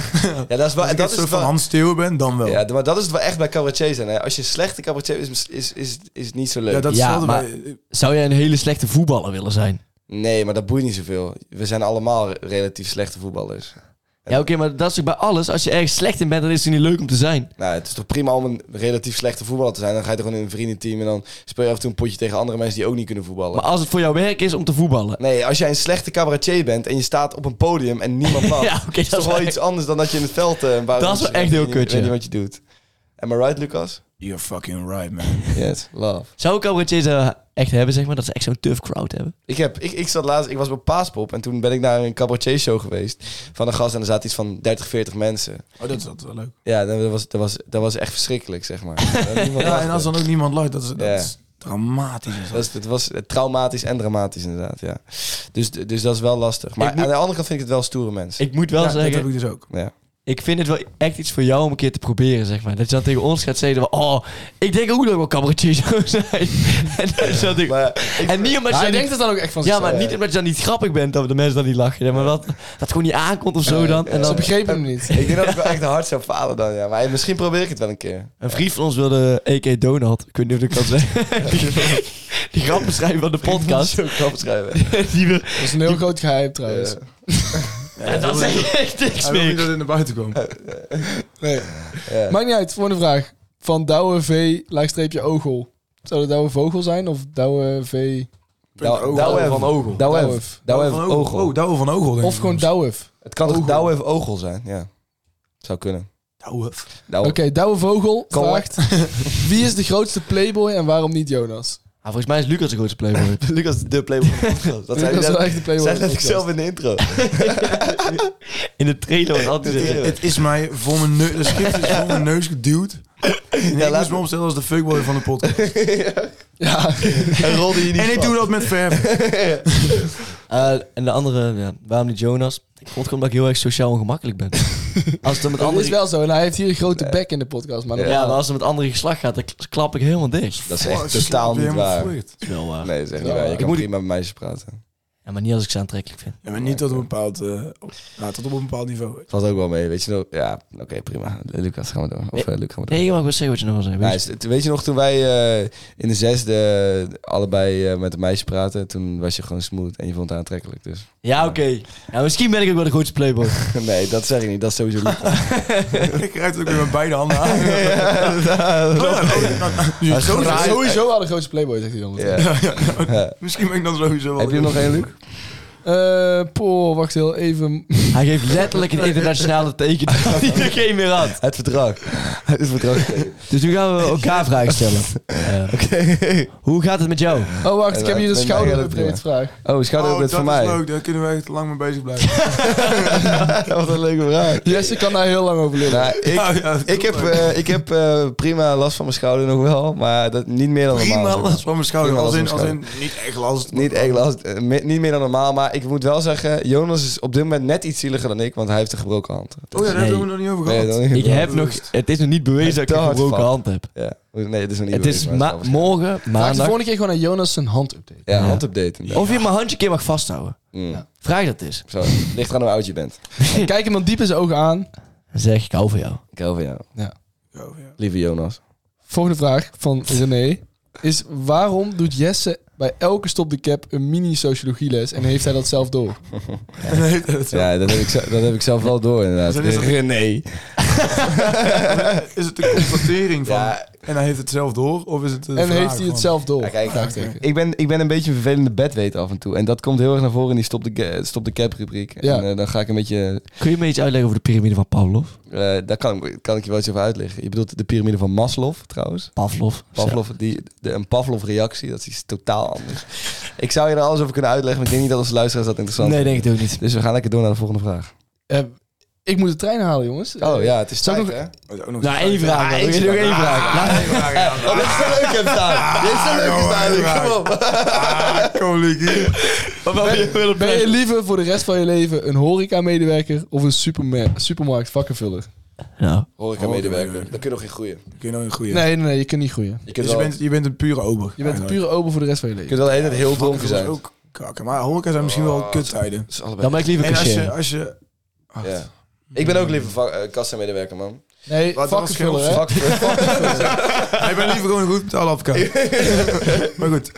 Speaker 2: ja dat is wel...
Speaker 3: Als
Speaker 2: dat
Speaker 3: ik dat
Speaker 2: is
Speaker 3: soort van
Speaker 2: wel-
Speaker 3: Hans Steeuw ben, dan
Speaker 4: Oh.
Speaker 3: wel.
Speaker 2: Ja,
Speaker 3: Ja,
Speaker 2: d- maar dat is het wel echt bij cabaretier zijn. Hè. Als je een slechte cabaretier is, is, is, is het niet zo leuk.
Speaker 3: dat is
Speaker 4: Ja,
Speaker 3: hetzelfde
Speaker 4: maar-
Speaker 3: bij-
Speaker 4: Zou jij een hele slechte voetballer willen zijn?
Speaker 2: Nee, maar dat boeit niet zoveel. We zijn allemaal re- relatief slechte voetballers.
Speaker 4: Ja, oké, maar dat is ook bij alles. Als je ergens slecht in bent, dan is het niet leuk om te zijn.
Speaker 2: Nou, het is toch prima om een relatief slechte voetballer te zijn. Dan ga je toch gewoon in een vriendenteam en dan speel je af en toe een potje tegen andere mensen die ook niet kunnen voetballen.
Speaker 4: Maar als het voor jouw werk is om te voetballen.
Speaker 2: Nee, als jij een slechte cabaretier bent en je staat op een podium en
Speaker 4: [LAUGHS]
Speaker 2: niemand lacht,
Speaker 4: Ja, oké,
Speaker 2: is toch
Speaker 4: dat is
Speaker 2: wel
Speaker 4: wel
Speaker 2: iets anders dan dat je in het veld eh, een bouwt.
Speaker 4: Dat is wel echt heel
Speaker 2: Ik weet niet- Ik
Speaker 4: kut, ja.
Speaker 2: weet niet wat je doet. Am I right,
Speaker 4: [LAUGHS]
Speaker 2: Lucas?
Speaker 3: You're fucking right, man.
Speaker 2: Yes, love.
Speaker 4: Zou ik cabaretiers eh, echt hebben, zeg maar? Dat ze echt zo'n tough crowd hebben?
Speaker 2: Ik, heb, ik, ik zat laatst, ik was bij Paaspop en toen ben ik naar een cabaretier show geweest van een gast en er zaten iets van 30, 40 mensen.
Speaker 3: Oh, dat is altijd wel leuk.
Speaker 2: Ja, dat was, dat was, dat was echt verschrikkelijk, zeg maar. Niemand
Speaker 3: Ja, en
Speaker 2: lachte.
Speaker 3: als dan ook niemand lacht, dat is, dat
Speaker 2: Ja.
Speaker 3: is dramatisch. is dat.
Speaker 2: Dat is, het was traumatisch en dramatisch inderdaad, ja. Dus, dus dat is wel lastig. Maar
Speaker 4: Ik moet-
Speaker 2: aan de andere kant vind ik het wel stoere mensen.
Speaker 4: Ik moet wel
Speaker 3: Ja, dat
Speaker 4: zeggen,
Speaker 3: heb
Speaker 4: ik...
Speaker 3: ik dus ook.
Speaker 2: Ja.
Speaker 4: vind het wel echt iets voor jou om een keer te proberen, zeg maar. Dat je dan tegen ons gaat zeggen, van, oh, ik denk ook dat ik wel [LAUGHS] cabaretier zou zijn. en, dat is natuurlijk-
Speaker 2: Maar ik-
Speaker 4: en niet omdat je dan
Speaker 5: Hij denkt
Speaker 4: niet...
Speaker 5: het dan ook echt van
Speaker 4: Ja,
Speaker 5: zichzelf.
Speaker 4: maar niet omdat je dan niet grappig bent, dat de mensen dan niet lachen. Ja, maar dat, dat het gewoon niet aankomt of zo dan. En
Speaker 5: Ze
Speaker 4: dan
Speaker 5: begrepen hem
Speaker 2: [LAUGHS]
Speaker 5: niet.
Speaker 2: ik denk dat ik wel echt hard zou falen dan, ja. Maar misschien probeer ik het wel een keer.
Speaker 4: een vriend van ons wilde, EK Donald, ik weet niet of ik dat kan zeggen. die, [LAUGHS] die grappenschrijver van de podcast.
Speaker 2: Zo grap schrijven.
Speaker 4: Die wil,
Speaker 5: Dat is een heel groot geheim trouwens.
Speaker 2: Ja.
Speaker 4: en dan zeg je echt niks
Speaker 3: Hij wil niet
Speaker 4: meer.
Speaker 3: dat het naar buiten komt.
Speaker 5: Nee.
Speaker 2: Ja.
Speaker 5: Maakt niet uit, volgende vraag. Van Douwe V, laagstreepje Ogel. Zou dat Douwe Vogel zijn of Douwe V...
Speaker 2: Douwe-
Speaker 3: Ogel.
Speaker 2: Douwe
Speaker 3: Van Ogel.
Speaker 2: Douwe
Speaker 5: Douwef.
Speaker 2: Douwe
Speaker 3: van
Speaker 2: heeft
Speaker 3: Ogel.
Speaker 2: Ogel.
Speaker 3: Oh, Douwe van Ogel. denk
Speaker 5: Of
Speaker 3: ik
Speaker 5: gewoon
Speaker 3: soms.
Speaker 5: Douwef.
Speaker 2: Het kan toch
Speaker 5: Ogel.
Speaker 2: Douwe heeft Ogel zijn? Ja. Zou kunnen.
Speaker 3: Douwe.
Speaker 2: Douwe.
Speaker 5: Oké, Douwe Vogel
Speaker 2: Correct.
Speaker 5: vraagt... Wie is de grootste playboy en waarom niet Jonas?
Speaker 4: Ah, Ah, volgens mij is Lucas de grootste playboy.
Speaker 2: [LAUGHS] Lucas de Playboy [LAUGHS] van de podcast. Dat zei hij
Speaker 5: Lucas is wel
Speaker 2: net-
Speaker 5: echt de Playboy
Speaker 2: zei
Speaker 5: van
Speaker 2: dat
Speaker 5: de
Speaker 2: ik
Speaker 5: podcast.
Speaker 2: zelf in de intro.
Speaker 4: In de trailer was altijd
Speaker 2: In de
Speaker 4: zeggen.
Speaker 2: [LAUGHS] trailer.
Speaker 3: Het is mij voor mijn neus, de schrift is voor mijn neus geduwd. Ja, ik moest me opstellen als de fuckboy van de podcast.
Speaker 5: Ja,
Speaker 2: En rolde je niet
Speaker 3: En ik doe dat met verf.
Speaker 4: Eh, en de andere, ja, waarom niet Jonas? Ik vond het gewoon omdat ik heel erg sociaal ongemakkelijk [LAUGHS] ben. als het dan met
Speaker 5: dat is
Speaker 4: andere...
Speaker 5: wel zo. En hij heeft hier een grote bek in de podcast. Maar
Speaker 4: Ja, maar als het met andere geslacht gaat, dan k- klap ik helemaal dicht.
Speaker 2: Dat is
Speaker 3: Oh,
Speaker 2: echt
Speaker 3: ze slaat
Speaker 2: totaal
Speaker 3: weer
Speaker 2: niet
Speaker 3: helemaal
Speaker 2: waar.
Speaker 3: vervloeid.
Speaker 4: Dat is wel waar.
Speaker 2: Nee, dat is echt
Speaker 5: Ja,
Speaker 2: niet waar. Je
Speaker 5: ik
Speaker 2: kan
Speaker 4: moet-
Speaker 2: prima met meisjes praten.
Speaker 4: Ja, maar niet als ik ze aantrekkelijk vind.
Speaker 3: Ja, maar niet tot een bepaald, eh, op, nou, tot op een bepaald niveau. [LAUGHS]
Speaker 2: Valt ook wel mee, weet je nog? Ja, oké, prima. Lucas, gaan we door. Of eh, Luc, gaan we door.
Speaker 4: Nee, je mag wel zeggen wat je nog wil zeggen.
Speaker 2: Ja,
Speaker 4: weet je.
Speaker 2: is het- weet je nog, toen wij eh, in de zesde allebei eh, met een meisje praten, toen was je gewoon smooth en je vond het aantrekkelijk. Dus
Speaker 4: Ja, oké. Ja, misschien ben ik ook wel de grootste playboy.
Speaker 2: [LAUGHS] nee, dat zeg ik niet. Dat is sowieso [LAUGHS] niet.
Speaker 3: Ik rijd het ook weer met beide handen aan. Oh ja, oh, nou, nou, nu je het zo zegt.
Speaker 5: sowieso al de grootste playboy, zegt hij dan.
Speaker 2: Ja.
Speaker 3: Ja, ja, nou,
Speaker 2: [LAUGHS] Ja.
Speaker 3: Misschien ben ik dan sowieso wel...
Speaker 2: Heb je er nog één, Luc?
Speaker 5: Eh, poh, wacht heel even.
Speaker 4: Hij geeft letterlijk een [LAUGHS] internationale teken dat hij er geen meer had.
Speaker 2: Het verdrag. [LAUGHS] Het verdrag. [LAUGHS]
Speaker 4: Dus nu gaan we elkaar vragen stellen. Eh, Hoe gaat het met jou?
Speaker 5: Oh, wacht, ik heb hier
Speaker 2: Nee,
Speaker 5: een
Speaker 2: nee,
Speaker 5: schouderupgrade vraag.
Speaker 2: Oh, schouder
Speaker 3: Oh,
Speaker 2: ook
Speaker 3: dat
Speaker 2: net
Speaker 3: is
Speaker 2: van mij.
Speaker 3: leuk. Daar kunnen we echt lang mee
Speaker 2: [LAUGHS]
Speaker 3: bezig blijven.
Speaker 2: Wat een leuke vraag.
Speaker 5: Jesse kan daar heel lang over lullen.
Speaker 2: Nou, ik,
Speaker 3: Ja, ja,
Speaker 2: ik heb, eh, ik heb eh, prima last van mijn schouder nog wel, maar dat, niet meer dan normaal.
Speaker 3: Prima
Speaker 2: zeg maar.
Speaker 3: last van mijn schouder.
Speaker 2: Prima
Speaker 3: Als in,
Speaker 2: last
Speaker 3: als
Speaker 2: van
Speaker 3: in, niet echt last.
Speaker 2: Niet echt last, eh, me- niet meer dan normaal, maar ik moet wel zeggen, Jonas is op dit moment net iets zieliger dan ik, want hij heeft een gebroken hand.
Speaker 3: Oh ja, daar
Speaker 4: Nee.
Speaker 3: hebben we nog niet over
Speaker 2: Nee,
Speaker 3: gehad.
Speaker 2: dat is niet
Speaker 4: Ik
Speaker 2: waar.
Speaker 4: heb nog... Het is nog niet bewezen dat ik een
Speaker 2: Dat
Speaker 4: gebroken
Speaker 2: valt.
Speaker 4: hand heb.
Speaker 2: Ja. Nee, het is nog niet
Speaker 4: Het
Speaker 2: bewezen, maar
Speaker 4: is ma-
Speaker 2: wel waarschijnlijk.
Speaker 4: morgen,
Speaker 5: Vraag de
Speaker 4: maandag.
Speaker 5: volgende keer gewoon aan Jonas zijn hand update.
Speaker 2: Ja,
Speaker 4: Ja.
Speaker 2: handupdaten. Ja.
Speaker 4: Of je mijn handje een keer mag vasthouden.
Speaker 2: Mm.
Speaker 4: Vraag dat eens.
Speaker 2: Zo, ligt eraan hoe oud je bent.
Speaker 5: Kijk hem dan diep in zijn ogen aan.
Speaker 4: Dan zeg ik hou van jou.
Speaker 2: Ik hou van jou.
Speaker 3: Oh, ja.
Speaker 2: Lieve Jonas.
Speaker 5: Volgende vraag van René is: waarom doet Jesse bij elke stop de cap een mini sociologieles en heeft hij dat zelf door?
Speaker 3: Nee, dat [LAUGHS] is-
Speaker 2: Ja, dat heb ik, zo- dat heb ik zelf wel door inderdaad.
Speaker 3: Dus dan is dat-
Speaker 2: René.
Speaker 3: Is het de constatering van...
Speaker 2: Ja,
Speaker 3: En hij heeft het zelf door? Of is het een
Speaker 5: En
Speaker 3: vraag
Speaker 5: heeft hij
Speaker 3: van-
Speaker 5: het zelf door?
Speaker 2: Ja, kijk.
Speaker 5: Vraagteken.
Speaker 2: [LAUGHS] ik, ben, ik ben een beetje een vervelende bedweet af en toe. En dat komt heel erg naar voren in die stop de, ga- stop de cap rubriek.
Speaker 5: Ja.
Speaker 2: En eh, dan ga ik een beetje...
Speaker 4: Kun je me iets uitleggen over de piramide van Pavlov?
Speaker 2: eh daar kan, ik- kan ik je wel iets over uitleggen. Je bedoelt de piramide van Maslow trouwens.
Speaker 4: Pavlov.
Speaker 2: Pavlov, die, de, een Pavlov-reactie, dat is iets totaal anders. ik zou je er alles over kunnen uitleggen, maar ik denk niet dat onze luisteraars dat interessant
Speaker 4: Nee, denk ik het ook niet.
Speaker 2: Dus we gaan lekker door naar de volgende vraag.
Speaker 5: Eh, ik moet de trein halen, jongens.
Speaker 2: Oh ja, het is
Speaker 5: Zou ik
Speaker 2: tijd,
Speaker 5: nog-
Speaker 2: hè?
Speaker 3: Oh, is ook nog-
Speaker 4: Nou, één vraag. dan.
Speaker 2: één
Speaker 4: Wil je nog één vraag. Laat-
Speaker 3: Ah, vraag, ja.
Speaker 2: Oh, dit is te leuk hebben staan. Dit is te leuk
Speaker 3: jongen,
Speaker 2: hebben staan.
Speaker 3: vraag.
Speaker 2: Kom op.
Speaker 3: Ah, Kom, Lucky.
Speaker 5: Ben, ben je liever voor de rest van je leven een horeca-medewerker of een superma- supermarkt vakkenvuller?
Speaker 4: Nou,
Speaker 2: Horeca medewerker. Dat kun je nog geen groeien.
Speaker 3: Kun je nou een goede...
Speaker 5: Nee, nee, nee, je kunt niet groeien.
Speaker 2: Je
Speaker 3: Dus
Speaker 2: kunt
Speaker 3: je
Speaker 2: wel,
Speaker 3: bent, je bent een pure ober.
Speaker 5: Je bent een pure open voor de rest van je
Speaker 2: je
Speaker 5: leven.
Speaker 2: kunt wel de hele tijd heel dronken zijn.
Speaker 3: Dat is ook kakken. Maar horeca zijn misschien
Speaker 2: Ah,
Speaker 3: wel kuttijden.
Speaker 2: Dat is allebei.
Speaker 4: dan ben ik liever
Speaker 3: En als je...
Speaker 4: cashier.
Speaker 3: Als je Wacht.
Speaker 2: Ja. Ik ben ook liever va- eh, kassa-medewerker, man.
Speaker 5: Nee,
Speaker 3: Wat, dat was geen
Speaker 5: vakkenvuller, hè?
Speaker 2: Vak-
Speaker 3: Nee, Ik ben liever gewoon een goed
Speaker 2: [LAUGHS]
Speaker 3: betaalde afkaart. maar goed.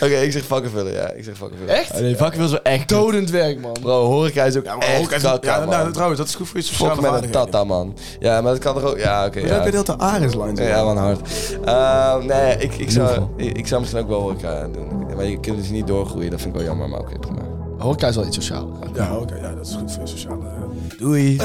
Speaker 2: Oké, ik zeg vakken vullen, ja. Ik zeg vakken vullen.
Speaker 5: Echt?
Speaker 4: Nee, vak wil ze echt dood.
Speaker 5: Dodend werk, man.
Speaker 2: Bro, horeca is ook
Speaker 3: Ja, maar
Speaker 2: echt
Speaker 3: horeca is-
Speaker 2: kaka,
Speaker 3: ja, nou,
Speaker 2: man.
Speaker 3: trouwens, dat is goed voor je
Speaker 2: Fok
Speaker 3: sociale
Speaker 2: met een
Speaker 3: vaardigheden.
Speaker 2: tata, man. Ja, maar dat kan toch ook... Ja, oké.
Speaker 3: Maar dan heb je
Speaker 2: ja.
Speaker 3: deelt de Ares line.
Speaker 2: Ja, man, hard. Ehm, nee, ik, ik, zou,
Speaker 4: Heel
Speaker 2: ik, ik zou misschien ook wel horeca doen. Maar je kunt dus niet doorgroeien, dat vind ik wel jammer. Maar oké, prima.
Speaker 5: Horeca is wel iets sociaal.
Speaker 3: Ja, oké, ja, dat is goed voor je sociale. Doei.